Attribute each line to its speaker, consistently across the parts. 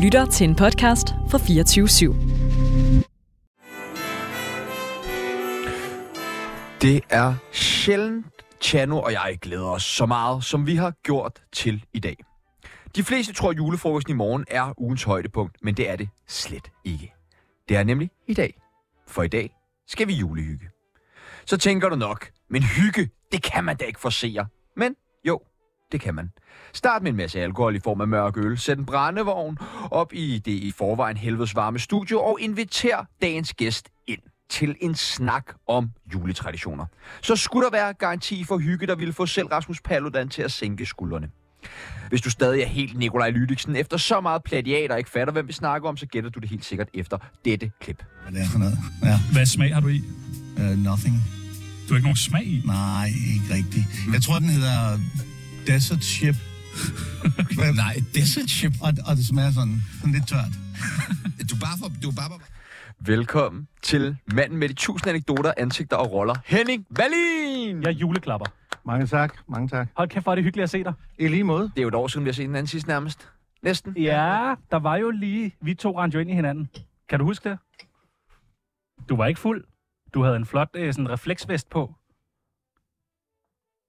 Speaker 1: lytter til en podcast fra 24 /7.
Speaker 2: Det er sjældent, Chano og jeg glæder os så meget, som vi har gjort til i dag. De fleste tror, at julefrokosten i morgen er ugens højdepunkt, men det er det slet ikke. Det er nemlig i dag. For i dag skal vi julehygge. Så tænker du nok, men hygge, det kan man da ikke forsere. Men jo, det kan man. Start med en masse alkohol i form af mørk øl, sæt en brændevogn op i det i forvejen helvedes varme studio og inviter dagens gæst ind til en snak om juletraditioner. Så skulle der være garanti for hygge, der ville få selv Rasmus Paludan til at sænke skuldrene. Hvis du stadig er helt Nikolaj Lydiksen, efter så meget plagiat og ikke fatter, hvem vi snakker om, så gætter du det helt sikkert efter dette klip.
Speaker 3: Hvad det er for noget? Ja.
Speaker 4: Hvad smag har du i?
Speaker 3: Uh, nothing.
Speaker 4: Du har ikke nogen smag i?
Speaker 3: Nej, ikke rigtigt. Jeg tror, den hedder Desert Ship. Nej, Desert Ship. Og, og det smager sådan, sådan lidt tørt.
Speaker 5: Du er bare for... Du er bare for...
Speaker 2: Velkommen til manden med de tusind anekdoter, ansigter og roller, Henning Wallin!
Speaker 6: Jeg er juleklapper.
Speaker 7: Mange tak, mange tak.
Speaker 6: Hold kæft, hvor er det hyggeligt at se dig.
Speaker 7: I lige måde.
Speaker 2: Det er jo et år siden, vi har set hinanden sidst nærmest. Næsten.
Speaker 6: Ja, der var jo lige... Vi to rendte jo ind i hinanden. Kan du huske det? Du var ikke fuld. Du havde en flot øh, sådan refleksvest på.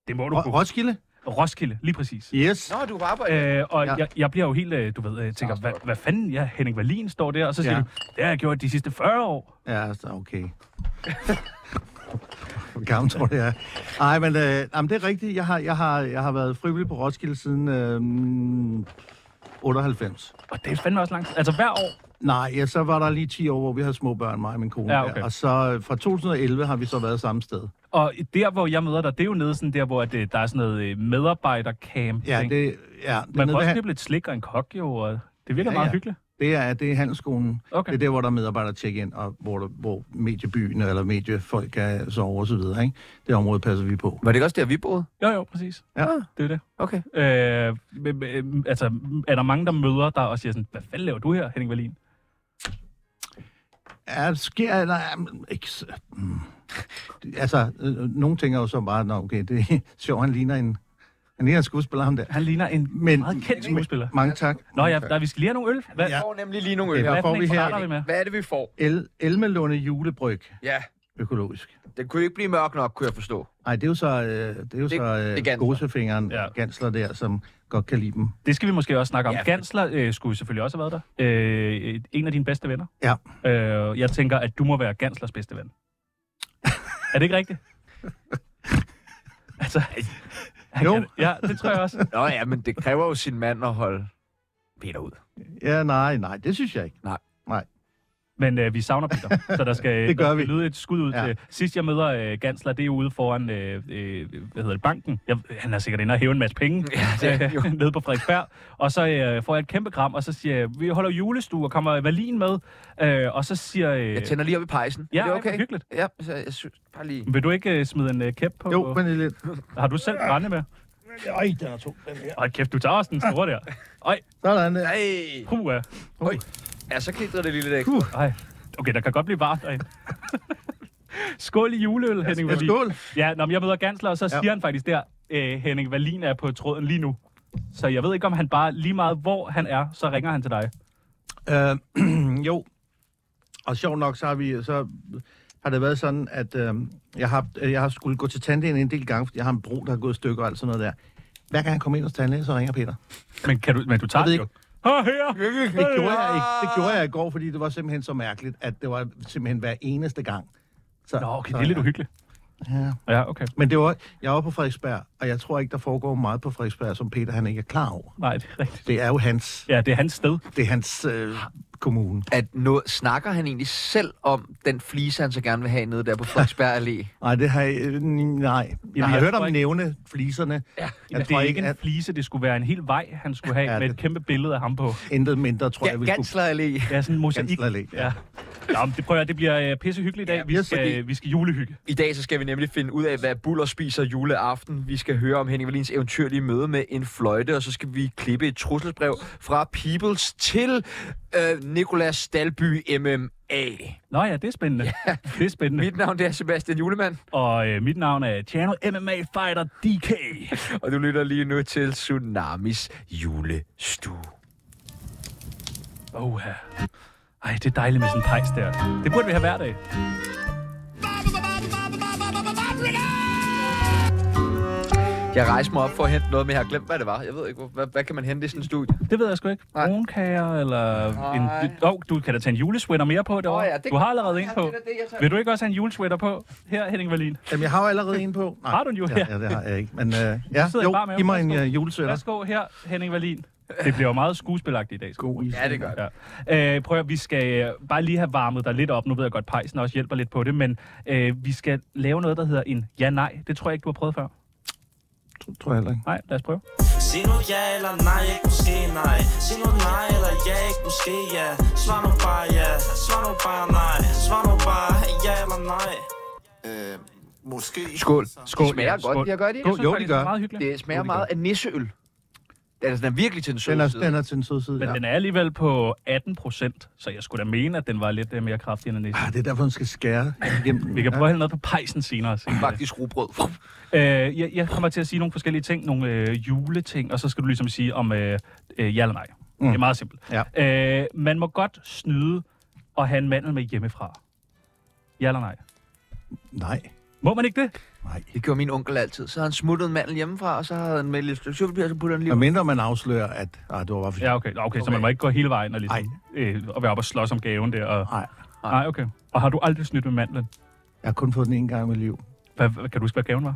Speaker 6: Det må du
Speaker 7: Ro-
Speaker 6: kunne.
Speaker 7: Roskilde?
Speaker 6: Roskilde, lige præcis.
Speaker 7: Yes.
Speaker 2: Nå, du var på arbejde.
Speaker 6: Øh, og
Speaker 7: Ja.
Speaker 6: ja. jeg, jeg bliver jo helt, øh, du ved, øh, tænker, hvad, hvad fanden, ja, Henning Wallin står der, og så siger
Speaker 7: Ja.
Speaker 6: ja. du, det har jeg gjort de sidste 40 år.
Speaker 7: Ja, så okay. Hvor gammel tror du, jeg er? Ej, men øh, jamen, det er rigtigt. Jeg har, jeg, har, jeg har været frivillig på Roskilde siden øh, 98.
Speaker 6: Og det er fandme også langt. Altså hver år,
Speaker 7: Nej, ja, så var der lige 10 år, hvor vi havde små børn, mig og min kone.
Speaker 6: Ja, okay.
Speaker 7: Og så øh, fra 2011 har vi så været samme sted.
Speaker 6: og der, hvor jeg møder dig, det er jo nede sådan der, hvor at, øh, der er sådan noget øh, medarbejdercamp.
Speaker 7: Ja,
Speaker 6: ikke?
Speaker 7: det, ja, det, er nede
Speaker 6: Man kan
Speaker 7: ved
Speaker 6: også
Speaker 7: han-
Speaker 6: købe lidt slik og en kok, jo, og det virker
Speaker 7: Ja,
Speaker 6: ja, meget
Speaker 7: ja.
Speaker 6: hyggeligt.
Speaker 7: det, er, det er handelsskolen.
Speaker 6: Okay.
Speaker 7: Det er der, hvor der er medarbejder tjekke ind, og hvor, der, hvor mediebyen eller mediefolk kan sove og så videre. Ikke? Det område passer vi på.
Speaker 2: Var det ikke også der, vi boede?
Speaker 6: Jo, jo, præcis.
Speaker 7: Ja.
Speaker 6: Det er det.
Speaker 2: Okay.
Speaker 6: Øh, men- men, altså, er der mange, der møder dig og siger sådan, hvad fanden laver du her, Henning Wallin?
Speaker 7: Ja, det sker, eller, mm, ikke, s- mm. Det- altså, øh, nogle tænker jo så bare, nå, okay, det er sjovt, han ligner en, han ligner en skuespiller, ham der.
Speaker 6: Han ligner en
Speaker 7: Men-
Speaker 6: men, meget kendt skuespiller.
Speaker 7: Mange tak.
Speaker 6: Nå ja, der, vi skal lige have nogle øl. Hvad,
Speaker 2: Jeg
Speaker 6: ja.
Speaker 2: får nemlig lige nogle øl
Speaker 7: Det var
Speaker 2: her.
Speaker 6: hvad
Speaker 7: får
Speaker 6: får vi
Speaker 7: vi her?
Speaker 6: her? Vi med?
Speaker 2: Hvad er det, vi får?
Speaker 7: El, Elmelunde julebryg,
Speaker 2: Ja,
Speaker 7: økologisk.
Speaker 2: den kunne jo ikke blive mørk nok, kunne jeg forstå.
Speaker 7: Nej, det er jo så, øh, det er jo
Speaker 2: Det-
Speaker 7: så
Speaker 2: det er
Speaker 7: øh,
Speaker 2: Gansler.
Speaker 7: gosefingeren,
Speaker 6: Ja.
Speaker 7: ja. gansler der, som godt kan lide dem.
Speaker 6: Det skal vi måske også snakke om.
Speaker 2: Ja,
Speaker 6: Ja,
Speaker 2: for-
Speaker 6: Gansler øh, skulle selvfølgelig også have været der. Øh, en af dine bedste venner.
Speaker 7: Ja.
Speaker 6: Øh, jeg tænker, at du må være Ganslers bedste ven. er det ikke rigtigt? altså, han
Speaker 7: Jo.
Speaker 6: kan det. Ja, det tror jeg også.
Speaker 2: Nå ja, men det kræver jo sin mand at holde Peter ud.
Speaker 7: Ja, nej, nej, det synes jeg ikke.
Speaker 6: Men øh, vi savner Peter, så der skal,
Speaker 7: Det gør
Speaker 6: der skal
Speaker 7: vi.
Speaker 6: lyde et skud ud
Speaker 7: Ja.
Speaker 6: ja. til. Sidst jeg møder øh, Gansler, det er ude foran øh, øh, hvad hedder det, banken. Jeg, han er sikkert inde og hæve en masse penge
Speaker 2: Ja, det er han jo.
Speaker 6: øh, nede på Frederiksberg. Og så øh, får jeg et kæmpe kram, og så siger jeg, vi holder julestue og kommer Valin med. Øh, og så siger øh,
Speaker 2: Jeg tænder lige op i pejsen.
Speaker 6: Ja,
Speaker 2: er det
Speaker 6: ej,
Speaker 2: okay?
Speaker 6: hvor hyggeligt.
Speaker 2: Ja, så jeg synes bare lige...
Speaker 6: vil du ikke øh, smide en øh, kæp på?
Speaker 7: Jo, men det er lidt.
Speaker 6: Har du selv brænde med?
Speaker 3: Øj, der er to. Den her.
Speaker 6: Ej, kæft, du tager også den store der. Ej,
Speaker 7: Sådan der.
Speaker 2: Ej!
Speaker 6: puh, øh.
Speaker 2: Oj. Ja, så klitrer det lige lidt ekstra.
Speaker 7: Puh.
Speaker 6: Ej. Okay, der kan godt blive varmt derinde. Skål i juleøl, Henning.
Speaker 7: Ja,
Speaker 6: Wallin.
Speaker 7: skål.
Speaker 6: Ja, når jeg møder Gansler, og så
Speaker 7: Ja.
Speaker 6: siger han faktisk der, øh, Henning Wallin er på tråden lige nu. Så jeg ved ikke, om han bare lige meget, hvor han er, så ringer han til dig.
Speaker 7: Øh, jo, og sjovt nok, så har, vi, så har det været sådan, at øh, jeg, har, øh, jeg har skulle gå til tandlægen en del gange, fordi jeg har en bro, der er gået i stykker og alt sådan noget der. Hver gang jeg kommer ind hos tandlægen, så ringer Peter.
Speaker 6: Men, kan du, men du tager
Speaker 7: Jeg ved
Speaker 6: det jo. Hør her!
Speaker 7: Det gjorde jeg ikke. Det gjorde jeg i går, fordi det var simpelthen så mærkeligt, at det var simpelthen hver eneste gang. Så,
Speaker 6: Nå, okay,
Speaker 7: så,
Speaker 6: det er lidt
Speaker 7: ja.
Speaker 6: uhyggeligt.
Speaker 7: Ja.
Speaker 6: Ja, okay.
Speaker 7: Men det var, jeg var på Frederiksberg, og jeg tror ikke, der foregår meget på Frederiksberg, som Peter han ikke er klar over.
Speaker 6: Nej, det er rigtigt.
Speaker 7: Det er jo hans,
Speaker 6: Ja, det er hans sted.
Speaker 7: det er hans øh, kommune.
Speaker 2: At nu snakker han egentlig selv om den flise, han så gerne vil have nede der på Frederiksberg Allé.
Speaker 7: Nej, det har jeg, øh, nej. Jeg har
Speaker 6: jeg
Speaker 7: hørt
Speaker 6: tror
Speaker 7: ham
Speaker 6: ikke-
Speaker 7: nævne fliserne. Ja,
Speaker 6: Jeg det er ikke en flise, det skulle være en hel vej, han skulle have
Speaker 7: Ja,
Speaker 6: ja, med
Speaker 7: det-
Speaker 6: et kæmpe billede af ham på.
Speaker 7: Intet mindre, tror jeg, vi
Speaker 2: Ja,
Speaker 7: kunne...
Speaker 2: Gansler Allé.
Speaker 6: Ja, sådan en mosaik.
Speaker 7: Gansler Allé, ja.
Speaker 6: Ja. Nå, men det prøver jeg, det bliver øh, pissehyggeligt i dag.
Speaker 7: Ja,
Speaker 6: Vi
Speaker 7: fordi-
Speaker 6: skal, vi skal julehygge.
Speaker 2: I dag så skal vi nemlig finde ud af, hvad Buller spiser juleaften. Vi skal høre om Henning Wallins eventyrlige møde med en fløjte, og så skal vi klippe et trusselsbrev fra Peoples til øh, Nikolas Stalby MMA.
Speaker 6: Nå ja, det er spændende. Ja. Det er spændende.
Speaker 2: Mit navn det er Sebastian Julemand,
Speaker 6: Og øh, mit navn er Chano MMA Fighter DK.
Speaker 2: og du lytter lige nu til Tsunamis julestue.
Speaker 6: Oha. Ej, det er dejligt med sådan en pejs der. Det burde vi have hver dag.
Speaker 2: Jeg rejste mig op for at hente noget, men jeg har glemt, hvad det var. Jeg ved ikke, hvor- hvad, hvad kan man hente i sådan en studie?
Speaker 6: Det ved jeg sgu ikke.
Speaker 2: Nej.
Speaker 6: Brunkager eller... En,
Speaker 2: Nej.
Speaker 6: oh, du kan da tage en julesweater mere på derovre.
Speaker 2: Åh ja, det-
Speaker 6: du har allerede en
Speaker 2: Ja,
Speaker 6: på.
Speaker 2: det er det, jeg tager.
Speaker 6: Vil du ikke også have en julesweater på? Her, Henning Wallin.
Speaker 7: Jamen, jeg har jo allerede en på. Nej,
Speaker 6: Har du en jul?
Speaker 7: Ja, ja, det har jeg ikke. Men øh, ja,
Speaker 6: sidder i bar
Speaker 7: jo,
Speaker 6: mave.
Speaker 7: giv mig en
Speaker 6: Værsgo.
Speaker 7: øh, julesøtter.
Speaker 6: Værsgo her, Henning Wallin. Det bliver jo meget skuespilagtigt i dag. God
Speaker 2: Ja, det gør det.
Speaker 6: Ja. Øh, prøv at, vi skal øh, bare lige have varmet dig lidt op. Nu ved jeg godt, pejsen også hjælper lidt på det, men øh, vi skal lave noget, der hedder en ja-nej. Det tror jeg ikke, du har prøvet før.
Speaker 7: Tror jeg heller ikke.
Speaker 6: Nej, lad os prøve.
Speaker 8: Sig nu ja eller nej, ikke måske nej Sig nu nej eller ja, ikke måske ja Svar nu bare ja, svar nu bare nej Svar nu bare ja eller nej
Speaker 9: Øh, måske.
Speaker 2: Skål.
Speaker 6: Skål,
Speaker 2: Det smager
Speaker 6: ja, skål.
Speaker 2: godt, de har gør det.
Speaker 7: Jo, jo,
Speaker 6: faktisk,
Speaker 7: det gør.
Speaker 6: er meget hyggeligt.
Speaker 2: Det smager
Speaker 6: Jo,
Speaker 2: meget af nisseøl. Altså, den er virkelig til den
Speaker 7: Den er,
Speaker 2: søde side.
Speaker 7: den er til den søde side,
Speaker 6: Men
Speaker 7: ja.
Speaker 6: den er alligevel på 18 procent, så jeg skulle da mene, at den var lidt øh, mere kraftig end en næste.
Speaker 7: Ah, det er derfor, man skal skære igennem.
Speaker 6: Vi kan prøve at hælde noget på pejsen senere. senere.
Speaker 2: Faktisk rugbrød.
Speaker 6: Øh, jeg, jeg kommer til at sige nogle forskellige ting, nogle øh, juleting, og så skal du ligesom sige om øh, øh, ja eller nej. Mm. Det er meget simpelt. Ja. Øh, man må godt snyde og have en mandel med hjemmefra. Ja eller nej?
Speaker 7: Nej,
Speaker 6: Må man ikke det?
Speaker 7: nej.
Speaker 2: Det gjorde min onkel altid. Så havde han smuttet en mandel hjemmefra, og så havde han med et lille stykke syltetøj, og så puttede han lige
Speaker 7: Og mindre man afslører, at... Ah, det var bare fordi...
Speaker 6: Ja, okay. Nå, okay, okay. så man må ikke gå hele vejen og, ligesom,
Speaker 7: Ej.
Speaker 6: øh, og være oppe og slås om gaven der. Og...
Speaker 7: Nej,
Speaker 6: Nej, okay. Og har du aldrig snydt med mandlen?
Speaker 7: jeg har kun fået den en gang i mit liv.
Speaker 6: Hvad, hvad, kan du huske, hvad gaven var?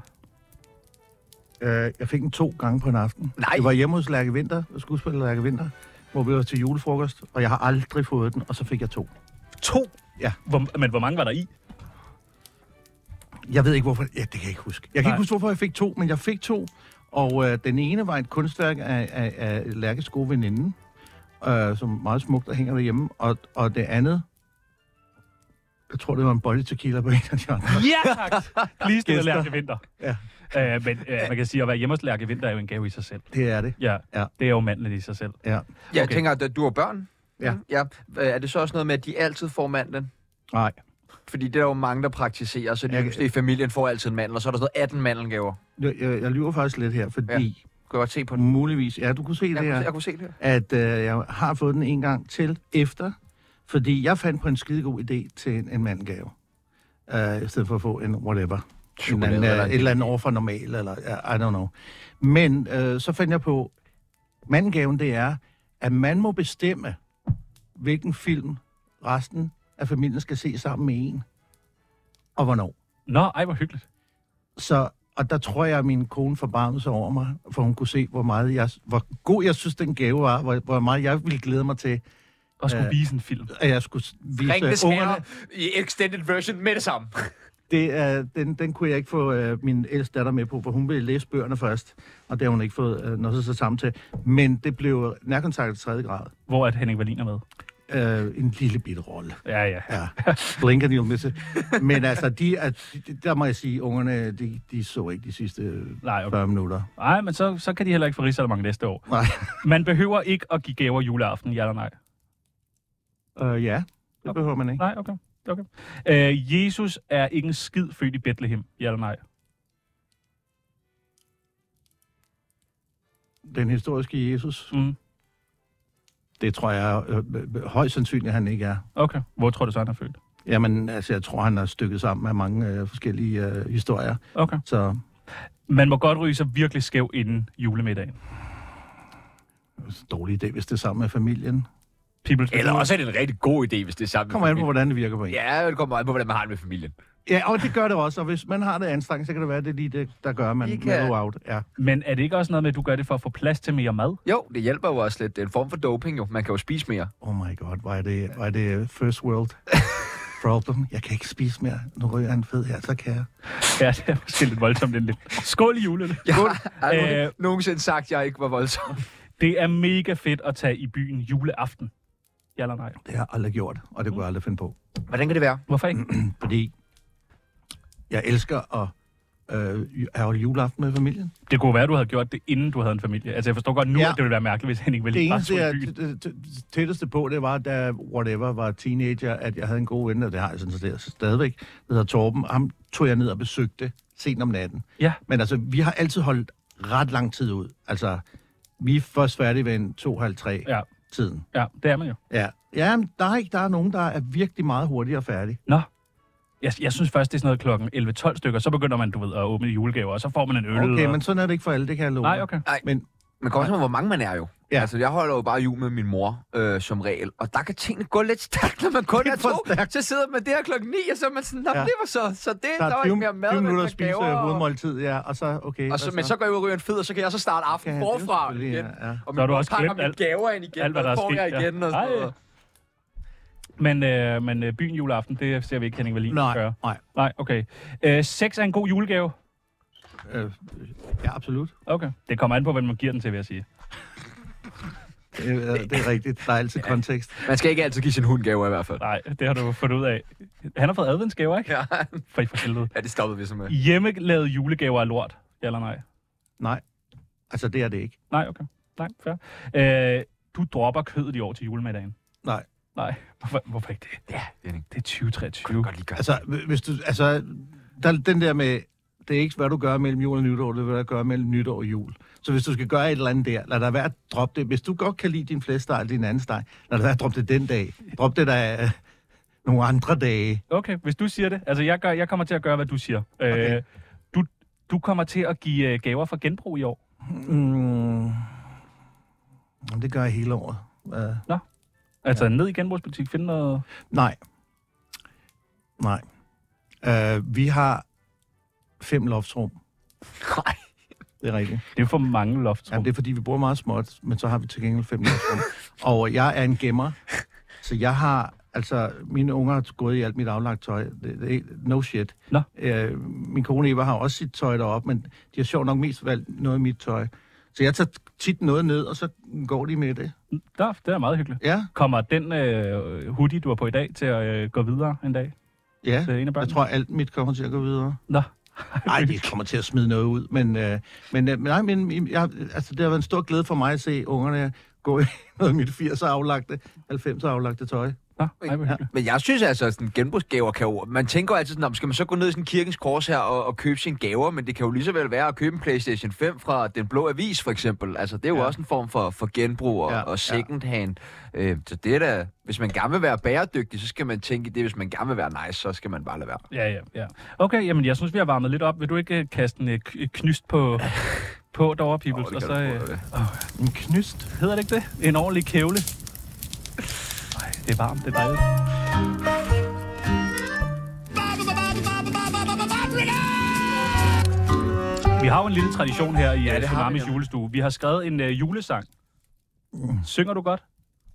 Speaker 7: Øh, jeg fik den to gange på en aften.
Speaker 2: Nej.
Speaker 7: Det var hjemme hos Lærke Vinter, skuespiller Lærke Vinter, hvor vi var til julefrokost, og jeg har aldrig fået den, og så fik jeg to.
Speaker 6: To?
Speaker 7: Ja.
Speaker 6: Hvor, men hvor mange var der i?
Speaker 7: Jeg ved ikke, hvorfor... Ja, det kan jeg ikke huske. Jeg kan Nej. ikke huske, hvorfor jeg fik to, men jeg fik to. Og øh, den ene var et kunstværk af, af, af Lærkes gode veninde, øh, som er meget smukt og hænger derhjemme. Og, og det andet... Jeg tror, det var en body tequila på en af de andre.
Speaker 6: Ja, tak! Lige stillet
Speaker 7: Gæster.
Speaker 6: Lærke Vinter.
Speaker 7: Ja.
Speaker 6: Øh, men øh, man kan sige, at være hjemme hos Lærke Vinter er jo en gave i sig selv.
Speaker 7: Det er det.
Speaker 6: Ja, ja.
Speaker 7: Ja.
Speaker 6: det er jo mandlen i sig selv.
Speaker 7: Ja.
Speaker 2: Jeg
Speaker 6: Okay.
Speaker 2: tænker, at du har børn.
Speaker 7: Ja.
Speaker 2: ja. Øh, Er det så også noget med, at de altid får mandlen?
Speaker 7: Nej.
Speaker 2: Fordi det er der jo mange, der praktiserer, så de
Speaker 7: Jeg-
Speaker 2: yngste i familien får altid en mandel, og så er der sådan noget 18 mandelgaver.
Speaker 7: Jeg, jeg, jeg lyver faktisk lidt her, fordi
Speaker 2: Kan jeg godt se på
Speaker 7: ja.
Speaker 2: den?
Speaker 7: muligvis... Ja, du kunne se det
Speaker 2: Jeg kunne,
Speaker 7: her.
Speaker 2: se, jeg kunne se det her.
Speaker 7: at øh, jeg har fået den en gang til efter, fordi jeg fandt på en skidegod idé til en, en mandgave. Øh, I stedet for at få en whatever. En eller anden,
Speaker 2: eller
Speaker 7: øh,
Speaker 2: en-
Speaker 7: et eller andet over for normal, eller uh, I don't know. Men øh, så fandt jeg på, mandgaven det er, at man må bestemme, hvilken film resten af familien skal se sammen med en, og hvornår.
Speaker 6: Nå, ej, hvor hyggeligt.
Speaker 7: Så, og der tror jeg, at min kone forbarmede sig over mig, for hun kunne se, hvor, meget jeg, hvor god jeg synes, den gave var, hvor, hvor meget jeg ville glæde mig til,
Speaker 6: Og skulle
Speaker 7: Øh,
Speaker 6: vise en film.
Speaker 7: at jeg skulle vise
Speaker 2: Ring det
Speaker 7: ungerne.
Speaker 2: smager i extended version med det samme.
Speaker 7: Det, uh, den, den kunne jeg ikke få uh, min ældste datter med på, for hun ville læse bøgerne først, og det har hun ikke fået uh, noget så sammen til. Men det blev nærkontakt i tredje grad.
Speaker 6: Hvor at Henning Wallin er med.
Speaker 7: Uh, en lille bitte rolle.
Speaker 6: Ja, ja.
Speaker 7: Ja, blinker de jo med sig. Men altså, de, at, de, der må jeg sige, ungerne, de, de så ikke de sidste øh,
Speaker 6: Nej, okay.
Speaker 7: 40 minutter.
Speaker 6: Ej, men så, så kan de heller ikke få Rigsalermang næste år.
Speaker 7: Nej.
Speaker 6: Man behøver ikke at give gaver juleaften, ja eller nej.
Speaker 7: Uh, ja, det behøver man ikke.
Speaker 6: Nej, okay. okay. Øh, Jesus er ikke en skid født i Bethlehem, ja eller nej.
Speaker 7: den historiske Jesus?
Speaker 6: Mm.
Speaker 7: Det tror jeg øh, øh, højst sandsynligt, han ikke er.
Speaker 6: Okay, hvor tror du så, han er født?
Speaker 7: Jamen, altså, jeg tror, han er stykket sammen af mange øh, forskellige øh, historier.
Speaker 6: Okay.
Speaker 7: Så
Speaker 6: Man må godt ryge sig virkelig skæv inden julemiddagen.
Speaker 7: dårlig idé, hvis det er sammen med familien.
Speaker 6: People's
Speaker 2: Eller også er det en rigtig god idé, hvis det er sammen
Speaker 7: Kommer an på, hvordan det virker på en.
Speaker 2: Ja, det kommer an på, hvordan man har det med familien.
Speaker 7: ja, og det gør det også. Og hvis man har det anstrengt, så kan det være, at det er lige det, der gør, at man
Speaker 2: Det
Speaker 7: kan...
Speaker 2: kan-
Speaker 7: mellow out. Ja.
Speaker 6: Men er det ikke også noget med, at du gør det for at få plads til mere mad?
Speaker 2: Jo, det hjælper jo også lidt. Det er en form for doping jo. Man kan jo spise mere.
Speaker 7: Oh my god, hvor er det, hvor er det øh, first world problem. Jeg kan ikke spise mere. Nu ryger jeg en fed her, så kan jeg.
Speaker 6: Ja, det er måske lidt voldsomt end lidt. Skål i julen.
Speaker 2: Jeg har aldrig
Speaker 6: Øh.
Speaker 2: nogensinde sagt, at jeg ikke var voldsom.
Speaker 6: Det er mega fedt at tage i byen juleaften. Ja eller nej?
Speaker 7: Det har jeg aldrig gjort, og det kunne jeg aldrig finde på.
Speaker 2: Hvordan kan det være?
Speaker 6: Hvorfor ikke?
Speaker 7: fordi jeg elsker at øh, afholde juleaften med familien.
Speaker 6: Det kunne være, at du havde gjort det, inden du havde en familie. Altså, jeg forstår godt nu, ja.
Speaker 7: Ja.
Speaker 6: at det ville være mærkeligt, hvis Henning ville
Speaker 7: Det
Speaker 6: bare
Speaker 7: eneste,
Speaker 6: tog i
Speaker 7: jeg
Speaker 6: byen.
Speaker 7: t- t- t- tætteste på, det var, da whatever var teenager, at jeg havde en god ven, og det har jeg sådan set stadigvæk, der hedder Torben. Ham tog jeg ned og besøgte sent om natten.
Speaker 6: Ja.
Speaker 7: Men altså, vi har altid holdt ret lang tid ud. Altså, vi er først færdige ved en 2.30.
Speaker 6: Ja.
Speaker 7: tiden.
Speaker 6: Ja, det er man jo.
Speaker 7: Ja, ja men der er ikke der er nogen, der er virkelig meget hurtigere færdig.
Speaker 6: Nå. Jeg, jeg synes først, det er sådan noget klokken 11-12 stykker, så begynder man, du ved, at åbne julegaver, og så får man en øl.
Speaker 7: Okay,
Speaker 6: og...
Speaker 7: men sådan er det ikke for alle, det kan jeg love.
Speaker 6: Nej,
Speaker 7: dig.
Speaker 6: okay.
Speaker 7: Men
Speaker 2: Man kan også med, hvor mange man er jo. Ja.
Speaker 7: Ja.
Speaker 2: Altså, jeg holder jo bare jul med min mor øh, som regel, og der kan tingene gå lidt stærkt, når man kun er
Speaker 7: Lidt for
Speaker 2: to.
Speaker 7: stærkt.
Speaker 2: Så sidder man der klokken 9, og så er man sådan, "Nå,
Speaker 7: Ja.
Speaker 2: det var så, så det,
Speaker 7: der
Speaker 2: der var ikke
Speaker 7: er 20,
Speaker 2: mere
Speaker 7: 20
Speaker 2: mad, men
Speaker 7: minutter
Speaker 2: der
Speaker 7: at spise
Speaker 2: gaver, og-
Speaker 7: øh, hovedmåltid, ja, og så, okay.
Speaker 2: Og så, men så går jeg ud og ryger en fed, og så kan jeg så starte aften
Speaker 7: Ja,
Speaker 2: ja,
Speaker 7: det er jo
Speaker 2: forfra igen.
Speaker 7: selvfølgelig, ja, ja.
Speaker 2: Og
Speaker 6: Så har
Speaker 2: min
Speaker 6: du
Speaker 2: mor
Speaker 6: også
Speaker 2: pakker
Speaker 6: glemt
Speaker 2: mine
Speaker 6: alt-
Speaker 2: gaver ind igen,
Speaker 6: alt, hvad
Speaker 2: og
Speaker 6: der er
Speaker 2: får
Speaker 6: sket,
Speaker 2: jeg
Speaker 6: ja.
Speaker 2: igen og sådan
Speaker 6: Ej.
Speaker 2: noget.
Speaker 6: Men, øh, men øh, byen juleaften, det ser vi ikke Henning Wallin
Speaker 7: Nej,
Speaker 6: gøre.
Speaker 7: nej.
Speaker 6: Nej, okay. Øh, sex er en god julegave.
Speaker 7: Øh, ja, absolut.
Speaker 6: Okay. Det kommer an på, hvem man giver den til, vil jeg sige.
Speaker 7: Det, er- det er rigtigt. Der er altid kontekst.
Speaker 2: Man skal ikke altid give sin hund gaver i hvert fald.
Speaker 6: Nej, det har du fundet ud af. Han har fået adventsgaver, ikke?
Speaker 2: Ja,
Speaker 6: For, for helvede.
Speaker 2: ja det stoppede vi så med.
Speaker 6: Hjemmelavede julegaver er lort. Ja eller nej?
Speaker 7: Nej. Altså, det er det ikke.
Speaker 6: Nej, okay. Nej, fair. Øh, du dropper kødet i år til julemiddagen.
Speaker 7: Nej.
Speaker 6: Nej, hvorfor, hvorfor ikke det? Ja,
Speaker 2: Henning.
Speaker 6: det er 2023.
Speaker 2: Godt lige gøre.
Speaker 7: Altså, hv- hvis du, altså der, er den der med, det er ikke, hvad du gør mellem jul og nytår, det er, hvad du gør mellem nytår og jul. Så hvis du skal gøre et eller andet der, lad dig være at droppe det. Hvis du godt kan lide din flæskesteg eller din anden steg, lad dig være at droppe det den dag. Drop det der øh, nogle andre dage.
Speaker 6: Okay, hvis du siger det. Altså, jeg, gør, jeg kommer til at gøre, hvad du siger. Okay. Øh, du, du kommer til at give øh, gaver fra genbrug i år.
Speaker 7: Mm. Jamen, Det gør jeg hele året. Uh,
Speaker 6: Altså, ja. ned i genbrugsbutik, finde noget...
Speaker 7: nej. Nej. Uh, vi har fem loftsrum.
Speaker 2: Nej.
Speaker 7: Det er rigtigt.
Speaker 6: Det er for mange loft.
Speaker 7: Ja, det er fordi, vi bruger meget småt, men så har vi til gengæld fem loftsrum. og jeg er en gemmer, så jeg har, altså, mine unger har gået i alt mit aflagt tøj. Det, det, no shit.
Speaker 6: Nå.
Speaker 7: Øh, min kone Eva har også sit tøj deroppe, men de har sjovt nok mest valgt noget af mit tøj. Så jeg tager tit noget ned, og så går de med det.
Speaker 6: Der, det er meget hyggeligt.
Speaker 7: Ja,
Speaker 6: Kommer den øh, hoodie, du har på i dag, til at øh, gå videre en dag
Speaker 7: ja.
Speaker 6: til en af børnene?
Speaker 7: Jeg tror, alt mit kommer til at gå videre.
Speaker 6: Nå.
Speaker 7: Nej, det kommer til at smide noget ud, men, øh, men, øh, men, nej, men jeg, altså, det har været en stor glæde for mig at se ungerne gå i noget af mit 80'er aflagte, 90'er aflagte tøj.
Speaker 6: Nå, ej, hvor
Speaker 7: Ja.
Speaker 6: hyggeligt.
Speaker 2: Men jeg synes altså, at sådan genbrugsgaver kan jo... Man tænker jo altid sådan, "Nå, men skal man så gå ned i sådan kirkens kors her og, og købe sine gaver? Men det kan jo lige så vel være at købe en Playstation 5 fra Den Blå Avis, for eksempel. Altså, det er jo ja.
Speaker 7: Ja.
Speaker 2: også en form for, for genbrug og, ja.
Speaker 7: Ja,
Speaker 2: og second hand. Øh, så det er da... Hvis man gerne vil være bæredygtig, så skal man tænke i det. Hvis man gerne vil være nice, så skal man bare lade være.
Speaker 6: Ja, ja, ja. Okay, jamen, jeg synes, vi har varmet lidt op. Vil du ikke øh, kaste en øh, k- knyst på, på derovre, Pibels?
Speaker 2: det kan
Speaker 6: og så,
Speaker 2: du
Speaker 6: øh,
Speaker 2: prøve,
Speaker 6: øh, en knyst? Hedder det ikke det? En ordentlig kævle? Ej, det er varmt, det er dejligt. Vi har jo en lille tradition her i
Speaker 2: det
Speaker 6: ja,
Speaker 2: har vi
Speaker 6: Tsunamis
Speaker 2: nemlig.
Speaker 6: julestue. Vi har skrevet en øh, julesang. Synger du godt?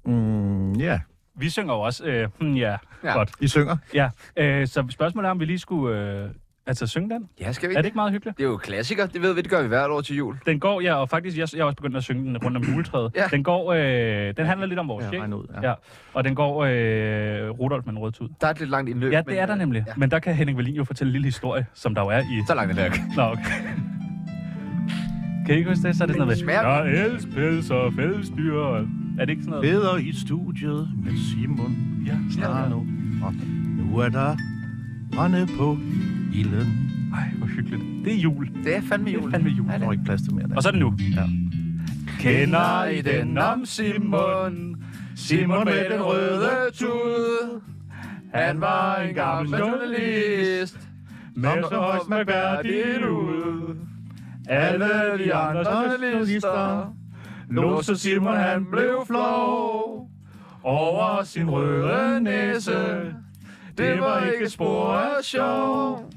Speaker 7: Mm, ja,
Speaker 6: Vi synger jo også, øh, hmm, ja,
Speaker 2: Ja.
Speaker 6: ja, godt.
Speaker 7: I synger.
Speaker 6: Ja, øh, så spørgsmålet er, om vi lige skulle øh, altså synge den.
Speaker 2: Ja, skal vi
Speaker 6: Er det ikke meget hyggeligt?
Speaker 2: Det er jo klassiker. Det ved vi, det gør vi hvert år til jul.
Speaker 6: Den går, ja, og faktisk, jeg, jeg er også begyndt at synge den rundt om juletræet.
Speaker 2: Ja.
Speaker 6: Den går, øh, den handler lidt om vores
Speaker 7: Ja,
Speaker 6: sjæl.
Speaker 7: regner ud, ja.
Speaker 6: ja. Og den går øh, Rudolf med en rød tud.
Speaker 2: Der er et lidt langt indløb.
Speaker 6: Ja, det er der
Speaker 2: øh,
Speaker 6: nemlig.
Speaker 2: Ja.
Speaker 6: Men der kan Henning Wallin jo fortælle en lille historie, som der jo er i...
Speaker 2: Så langt er det ikke.
Speaker 6: Nå, okay. Kan I ikke huske det? Så er det sådan noget med...
Speaker 2: smager-
Speaker 6: Der er elspils og fællesdyr. Er det ikke sådan noget?
Speaker 7: Bedre i studiet med Simon
Speaker 6: Ja, ja.
Speaker 7: Jarno. Og nu er der brænde på ilden.
Speaker 6: Ej, hvor hyggeligt. Det er jul.
Speaker 2: Det er fandme
Speaker 6: Det er
Speaker 2: jul.
Speaker 6: fandme jul.
Speaker 7: Der er ikke plads til mere. Der.
Speaker 6: Og så er det nu.
Speaker 7: Ja.
Speaker 6: Kender I den om Simon? Simon med den røde
Speaker 2: tud.
Speaker 6: Han var en gammel journalist, men så højst mærkværdigt ud. Alle de andre journalister lå så Simon han blev flov over sin røde næse. Det var ikke spor af sjov.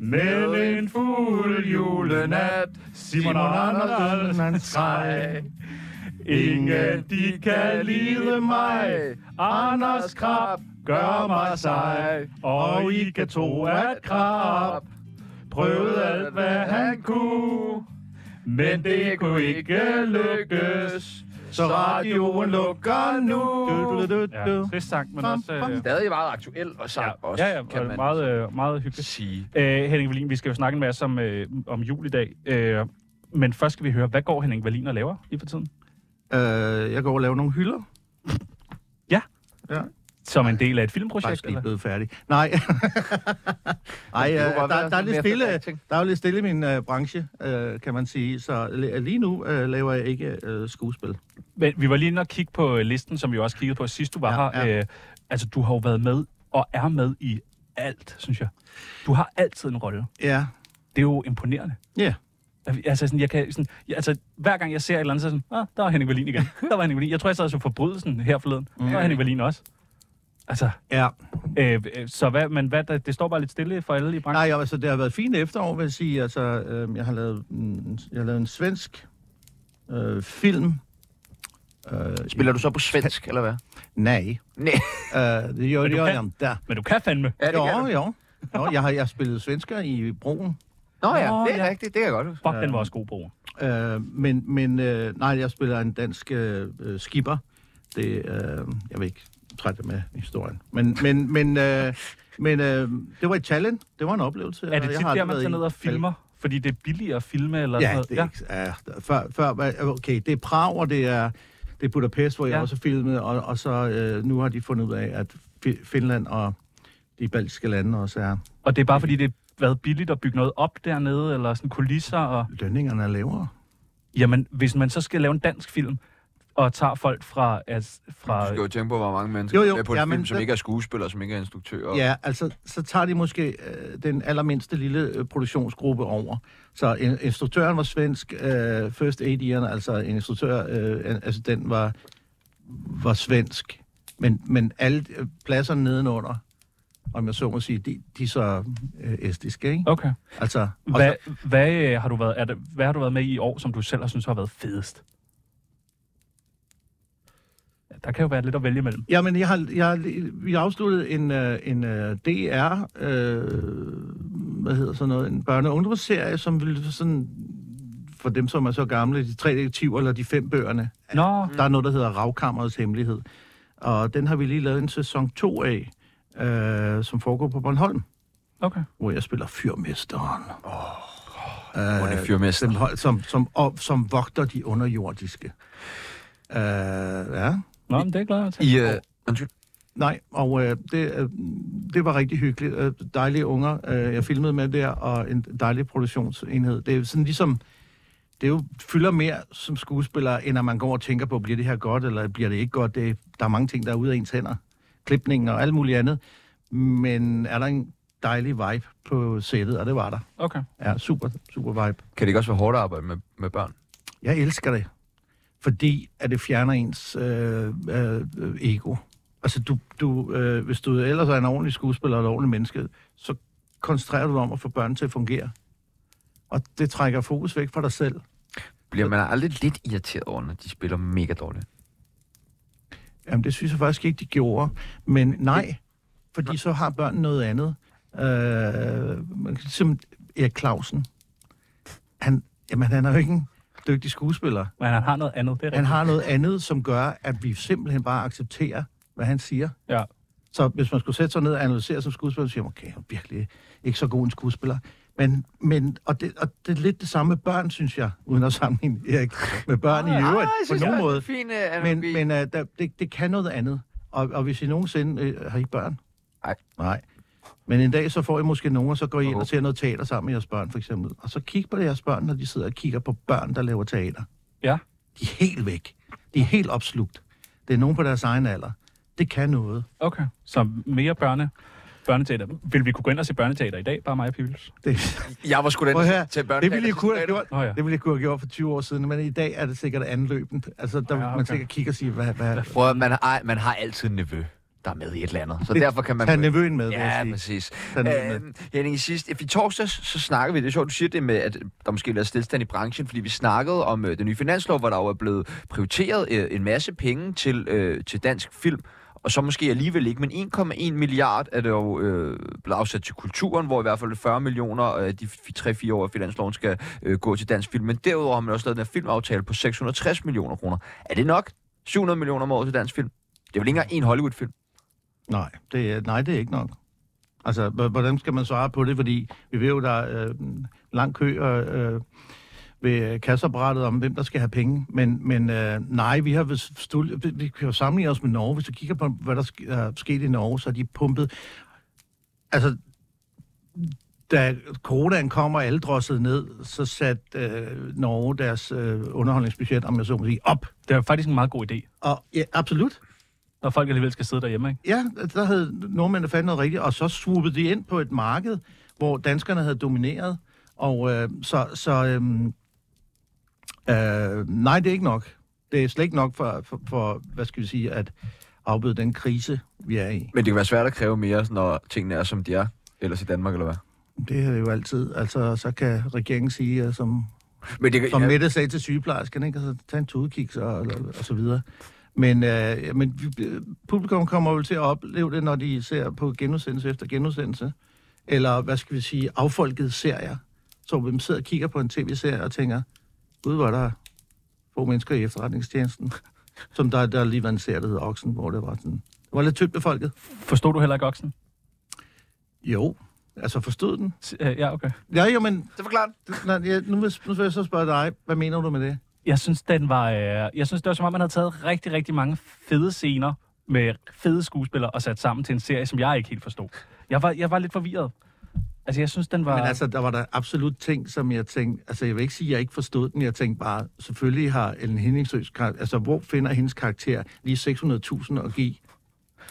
Speaker 6: Men en fuld julenat, Simon Andersen han skreg. Ingen de kan lide mig, Anders Krab gør mig sej. Og I kan tro, at Krab prøvede alt, hvad han kunne. Men det kunne ikke lykkes, så radioen lukker nu.
Speaker 7: Du-du-du-du.
Speaker 6: det sang, men
Speaker 7: også, øh,
Speaker 2: Stadig meget aktuel og sang også, kan man
Speaker 6: meget, øh, meget hyggeligt.
Speaker 2: sige.
Speaker 6: Øh, Henning Wallin, vi skal jo snakke en masse om, øh, om jul i dag. Øh, men først skal vi høre, hvad går Henning Wallin og laver lige for tiden?
Speaker 7: Øh, jeg går og laver nogle hylder.
Speaker 6: Ja.
Speaker 7: Ja.
Speaker 6: Som en del af et filmprojekt,
Speaker 7: faktisk lige
Speaker 6: eller?
Speaker 7: blevet færdig. Nej, Ej, øh,
Speaker 10: kunne godt
Speaker 7: der,
Speaker 10: være
Speaker 7: der, er
Speaker 10: sådan
Speaker 7: lidt
Speaker 10: mere
Speaker 7: stille,
Speaker 10: formatting.
Speaker 7: der er jo lidt stille i min øh, branche, øh, kan man sige. Så li- lige nu øh, laver jeg ikke øh, skuespil.
Speaker 6: Men vi var lige inde og kigge på øh, listen, som vi også kiggede på sidst, du var
Speaker 7: Ja,
Speaker 6: ja, her.
Speaker 7: ja.
Speaker 6: Øh, altså, du har jo været med og er med i alt, synes jeg. Du har altid en rolle.
Speaker 7: Ja.
Speaker 6: Det er jo imponerende.
Speaker 7: Ja.
Speaker 6: Altså, sådan, jeg kan, sådan, jeg, altså, hver gang jeg ser et eller andet, så er jeg sådan, ah, der er Henning Wallin igen. Der var Henning Wallin. Jeg tror, jeg sad og så forbrydelsen her forleden. Mm. Der var Henning Wallin også. Altså,
Speaker 7: Ja.
Speaker 6: øh, øh, så hvad, men hvad, der, det står bare lidt stille for alle i branchen.
Speaker 7: Nej, jo, altså, det har været fint efterår, vil jeg sige. Altså, øh, jeg, har lavet, mm, jeg har lavet en svensk øh, film. Øh,
Speaker 10: Spiller du så på svensk, eller hvad?
Speaker 7: nej.
Speaker 10: Nej.
Speaker 7: Øh, det gjorde
Speaker 6: du
Speaker 7: jeg
Speaker 6: kan.
Speaker 7: jamen, der.
Speaker 6: Men du kan fandme.
Speaker 10: Ja, det kan
Speaker 7: jo,
Speaker 10: du.
Speaker 7: jo. jo. Jeg har, jeg har spillet svensker i Broen.
Speaker 10: Nå ja,
Speaker 6: Nå,
Speaker 10: det er
Speaker 6: ja.
Speaker 10: rigtigt. Det kan jeg godt huske.
Speaker 6: Fuck, den var også god, bror.
Speaker 7: Øh, men men øh, nej, jeg spiller en dansk øh, øh, skipper. Det, øh, jeg vil ikke trætte med historien. Men, men, men, øh, men øh, det var et challenge. Det var en oplevelse.
Speaker 6: Er det
Speaker 7: Jeg har
Speaker 6: tit der,
Speaker 7: aldrig
Speaker 6: man
Speaker 7: været
Speaker 6: tager
Speaker 7: i-
Speaker 6: ned og filmer? Fordi det er billigere at filme, eller
Speaker 7: Ja,
Speaker 6: sådan noget?
Speaker 7: det er ikke, ja. Før, før, var- okay, det er Prag, og det er, det er Budapest, hvor jeg
Speaker 6: Ja.
Speaker 7: også filmede, og, og så øh, nu har de fundet ud af, at Fi- Finland og de baltiske lande også er
Speaker 6: Og det er bare fordi, det har været billigt at bygge noget op dernede, eller sådan kulisser. Og...
Speaker 7: lønningerne er lavere.
Speaker 6: Jamen, hvis man så skal lave en dansk film, og tager folk fra... Altså,
Speaker 2: Du
Speaker 6: fra...
Speaker 2: skal jo tænke på, hvor mange mennesker
Speaker 7: Jo,
Speaker 2: jo,
Speaker 7: jo,
Speaker 2: jo, er på en
Speaker 7: jamen,
Speaker 2: film, som
Speaker 7: det-
Speaker 2: ikke er skuespillere, som ikke er instruktører.
Speaker 7: Ja, altså, så tager de måske øh, den allermindste lille øh, produktionsgruppe over. Så in- instruktøren var svensk, øh, First AD'eren, altså en instruktør, øh, en- altså den var, var svensk. Men, men alle øh, pladserne nedenunder, om jeg så må sige, de, de er så øh, estiske, ikke?
Speaker 6: Okay.
Speaker 7: Altså, og
Speaker 6: Hvad, hvad, øh, har du været, er det, hvad har du været med i i år, som du selv har synes har været fedest? Ja, Der kan jo være lidt at vælge imellem.
Speaker 7: Jamen, jeg har, jeg har, lige- vi har afsluttet en, øh, en øh, DR, øh, hvad hedder sådan noget, en børne- og ungdomsserie, som ville sådan, for dem, som er så gamle, de tre detektiver eller de fem bøgerne.
Speaker 6: Nå,
Speaker 7: Der er noget, der hedder Ravkammerets Hemmelighed. Og den har vi lige lavet en sæson 2 af, øh, som foregår på Bornholm,
Speaker 6: okay.
Speaker 7: hvor jeg spiller fyrmesteren. Øh,
Speaker 2: Hvor det er fyrmester.
Speaker 7: Som, hold- som, som, og, som vogter de underjordiske. Øh, ja.
Speaker 6: Nå, men det er klart.
Speaker 2: I, øh, undskyld.
Speaker 7: Nej, og øh, det, øh, det var rigtig hyggeligt. Øh, dejlige unger, øh, jeg filmede med der, og en dejlig produktionsenhed. Det er sådan ligesom, det er jo fylder mere som skuespiller, end at man går og tænker på, bliver det her godt, eller bliver det ikke godt. Det, der er mange ting, der er ude af ens hænder. Klipningen og alt muligt andet. Men er der en dejlig vibe på sættet, og det var der.
Speaker 6: Okay.
Speaker 7: Ja, super, super vibe.
Speaker 2: Kan det ikke også være hårdt at arbejde med, med børn?
Speaker 7: Jeg elsker det, fordi at det fjerner ens øh, øh, øh, ego. Altså, du, du, øh, hvis du ellers er en ordentlig skuespiller eller ordentlig menneske, så koncentrerer du dig om at få børn til at fungere. Og det trækker fokus væk fra dig selv.
Speaker 2: Bliver man aldrig lidt irriteret over, når de spiller mega dårligt?
Speaker 7: Jamen, det synes jeg faktisk ikke, de gjorde. Men nej, fordi så har børn noget andet. Øh, man kan- som Erik Clausen. Han, jamen, han er jo ikke en dygtig skuespiller.
Speaker 6: Men han har noget andet, det er
Speaker 7: Han
Speaker 6: rigtigt.
Speaker 7: har noget andet, som gør, at vi simpelthen bare accepterer, hvad han siger.
Speaker 6: Ja.
Speaker 7: Så hvis man skulle sætte sig ned og analysere som skuespiller, så siger man, okay, jeg er virkelig ikke så god en skuespiller. Men, men og, det, og det er lidt det samme med børn, synes jeg, uden at sammenligne Erik med børn i øvrigt, på nogen måde.
Speaker 10: Fin, øh,
Speaker 7: Men,
Speaker 10: men, men,
Speaker 7: men uh, der, det, det kan noget andet. Og, og hvis I nogensinde... Øh, har I børn?
Speaker 2: Nej.
Speaker 7: Nej. Men en dag, så får I måske nogen, og så går I ind
Speaker 2: Åh.
Speaker 7: og ser noget teater sammen med jeres børn, for eksempel. Og så kig på jeres børn, når de sidder og kigger på børn, der laver teater.
Speaker 6: Ja.
Speaker 7: De er helt væk. De er helt opslugt. Det er nogen på deres egen alder. Det kan noget.
Speaker 6: Okay. Så mere børne, børneteater. Vil vi kunne gå ind og se børneteater i dag, bare mig og Pibels?
Speaker 7: Det,
Speaker 2: Jeg var sgu den
Speaker 7: Prøv her,
Speaker 2: til
Speaker 7: det ville jeg kunne have gjort.
Speaker 6: Nå ja.
Speaker 7: Det ville jeg kunne have gjort for 20 år siden, men i dag er det sikkert anløbent. Altså, der vil
Speaker 6: Ja,
Speaker 7: man
Speaker 6: okay.
Speaker 7: sikkert kigge og sige, hvad, hvad
Speaker 2: Prøv, at- man har, ej, man har altid en nevø, der er med i et eller andet. Så derfor kan man...
Speaker 7: tage nevøen med, vil
Speaker 2: Ja,
Speaker 7: jeg sige.
Speaker 2: præcis.
Speaker 7: Tag nevøen
Speaker 2: Øh, Henning, i sidst, i torsdags, så snakkede vi, det er sjovt, du siger det med, at der måske er lavet stillestand i branchen, fordi vi snakkede om øh, den nye finanslov, hvor der jo er blevet prioriteret øh, en masse penge til, øh, til dansk film, og så måske alligevel ikke, men 1,1 milliard er det jo øh, blevet afsat til kulturen, hvor i hvert fald 40 millioner af de 3-4 år af finansloven skal øh, gå til dansk film. Men derudover har man også lavet den her filmaftale på 660 millioner kroner. Er det nok? 700 millioner om året til dansk film? Det er vel ikke engang en Hollywood-film?
Speaker 7: Nej, det, er- nej, det er ikke nok. Altså, h- hvordan skal man svare på det? Fordi vi ved jo, der er øh, lang kø og, øh, ved øh, kasseapparatet om, hvem der skal have penge. Men, men øh, nej, vi har vist stul- vi, vi kan jo sammenligne os med Norge. Hvis du kigger på, hvad der sk- er sket i Norge, så er de pumpet... Altså, da coronaen kom og alle drossede ned, så satte øh, Norge deres øh, underholdningsbudget, om jeg så må sige, op.
Speaker 6: Det er faktisk en meget god idé,
Speaker 7: Og, ja, absolut.
Speaker 6: når folk alligevel skal sidde derhjemme, ikke?
Speaker 7: Ja, der havde nordmændene fat i noget rigtigt, og så swoopede de ind på et marked, hvor danskerne havde domineret. Og øh, så, så øh, øh, nej, det er ikke nok. Det er slet ikke nok for, for, for hvad skal vi sige, at afbøde den krise, vi er i.
Speaker 2: Men det kan være svært at kræve mere, når tingene er, som de er. Ellers i Danmark, eller hvad?
Speaker 7: Det er jo altid, altså så kan regeringen sige, øh, som
Speaker 2: Men det kan,
Speaker 7: Som Mette sagde til sygeplejersken, ikke? Altså, tag en tudekiks og, og, og så videre. Men, øh, men vi- øh, publikum kommer vel til at opleve det, når de ser på genudsendelse efter genudsendelse. Eller, hvad skal vi sige, affolkede serier. Så vi sidder og kigger på en tv-serie og tænker, gud, hvor er der få mennesker i efterretningstjenesten. Som der, der lige var en serie, der hedder Oksen, hvor det var sådan... Det var lidt tyndt befolket.
Speaker 6: Forstod du heller ikke oksen?
Speaker 7: Jo. Altså, forstod den?
Speaker 6: S- øh, ja, okay.
Speaker 7: Ja, jo, men...
Speaker 2: Det forklarer den.
Speaker 7: Nej, ja, nu, vil, nu vil jeg så spørge dig, hvad mener du med det?
Speaker 6: Jeg synes, den var, øh, jeg synes, det var som om, man havde taget rigtig, rigtig mange fede scener med fede skuespillere og sat sammen til en serie, som jeg ikke helt forstod. Jeg var, jeg var lidt forvirret. Altså, jeg synes, den var...
Speaker 7: Men altså, der var der absolut ting, som jeg tænkte... Altså, jeg vil ikke sige, at jeg ikke forstod den. Jeg tænkte bare, selvfølgelig har Ellen Henningsøs karakter... Altså, hvor finder hendes karakter lige 600.000 at give?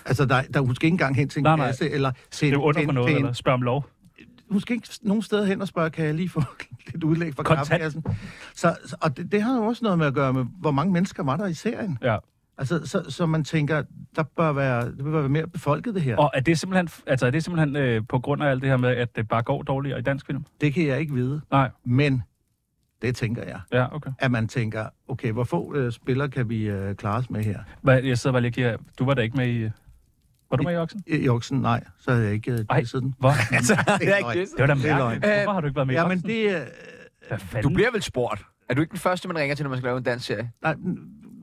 Speaker 7: Altså, der, der, hun skal ikke engang hen til en
Speaker 6: Nej, nej.
Speaker 7: kasse, eller... Til
Speaker 6: det er
Speaker 7: en-
Speaker 6: jo under
Speaker 7: til
Speaker 6: for
Speaker 7: en-
Speaker 6: noget,
Speaker 7: til en-
Speaker 6: eller spørg om lov.
Speaker 7: Hun skal ikke nogen steder hen og spørge, kan jeg lige få lidt udlæg fra
Speaker 6: Kontant.
Speaker 7: kaffekassen? Så, så- og det, det har jo også noget med at gøre med, hvor mange mennesker var der i serien.
Speaker 6: Ja.
Speaker 7: Altså, så, så man tænker, der bør være, det bør være mere befolket, det her.
Speaker 6: Og er det simpelthen, altså, er det simpelthen øh, på grund af alt det her med, at det bare går dårligere i dansk film?
Speaker 7: Det kan jeg ikke vide,
Speaker 6: Nej.
Speaker 7: men det tænker jeg.
Speaker 6: Ja, okay.
Speaker 7: at man tænker, okay, hvor få øh, spillere kan vi øh, klare os med her?
Speaker 6: Hvad, jeg sidder bare lige og kigger. Du var da ikke med i... øh, Var du med i Oksen?
Speaker 7: I- Joksen, nej, så havde jeg ikke øh,
Speaker 6: Ej.
Speaker 7: disset den.
Speaker 6: Hvor? Altså,
Speaker 2: det er ikke
Speaker 6: Det var da
Speaker 7: Det er
Speaker 6: mærkeligt.
Speaker 2: løgn.
Speaker 6: Hvorfor har du ikke været med i
Speaker 7: Ja, men
Speaker 6: Oksen?
Speaker 7: det... Øh,
Speaker 6: Hvad fanden?
Speaker 2: Du bliver vel spurgt. Er du ikke den første, man ringer til, når man skal lave en dansk serie?
Speaker 7: nej,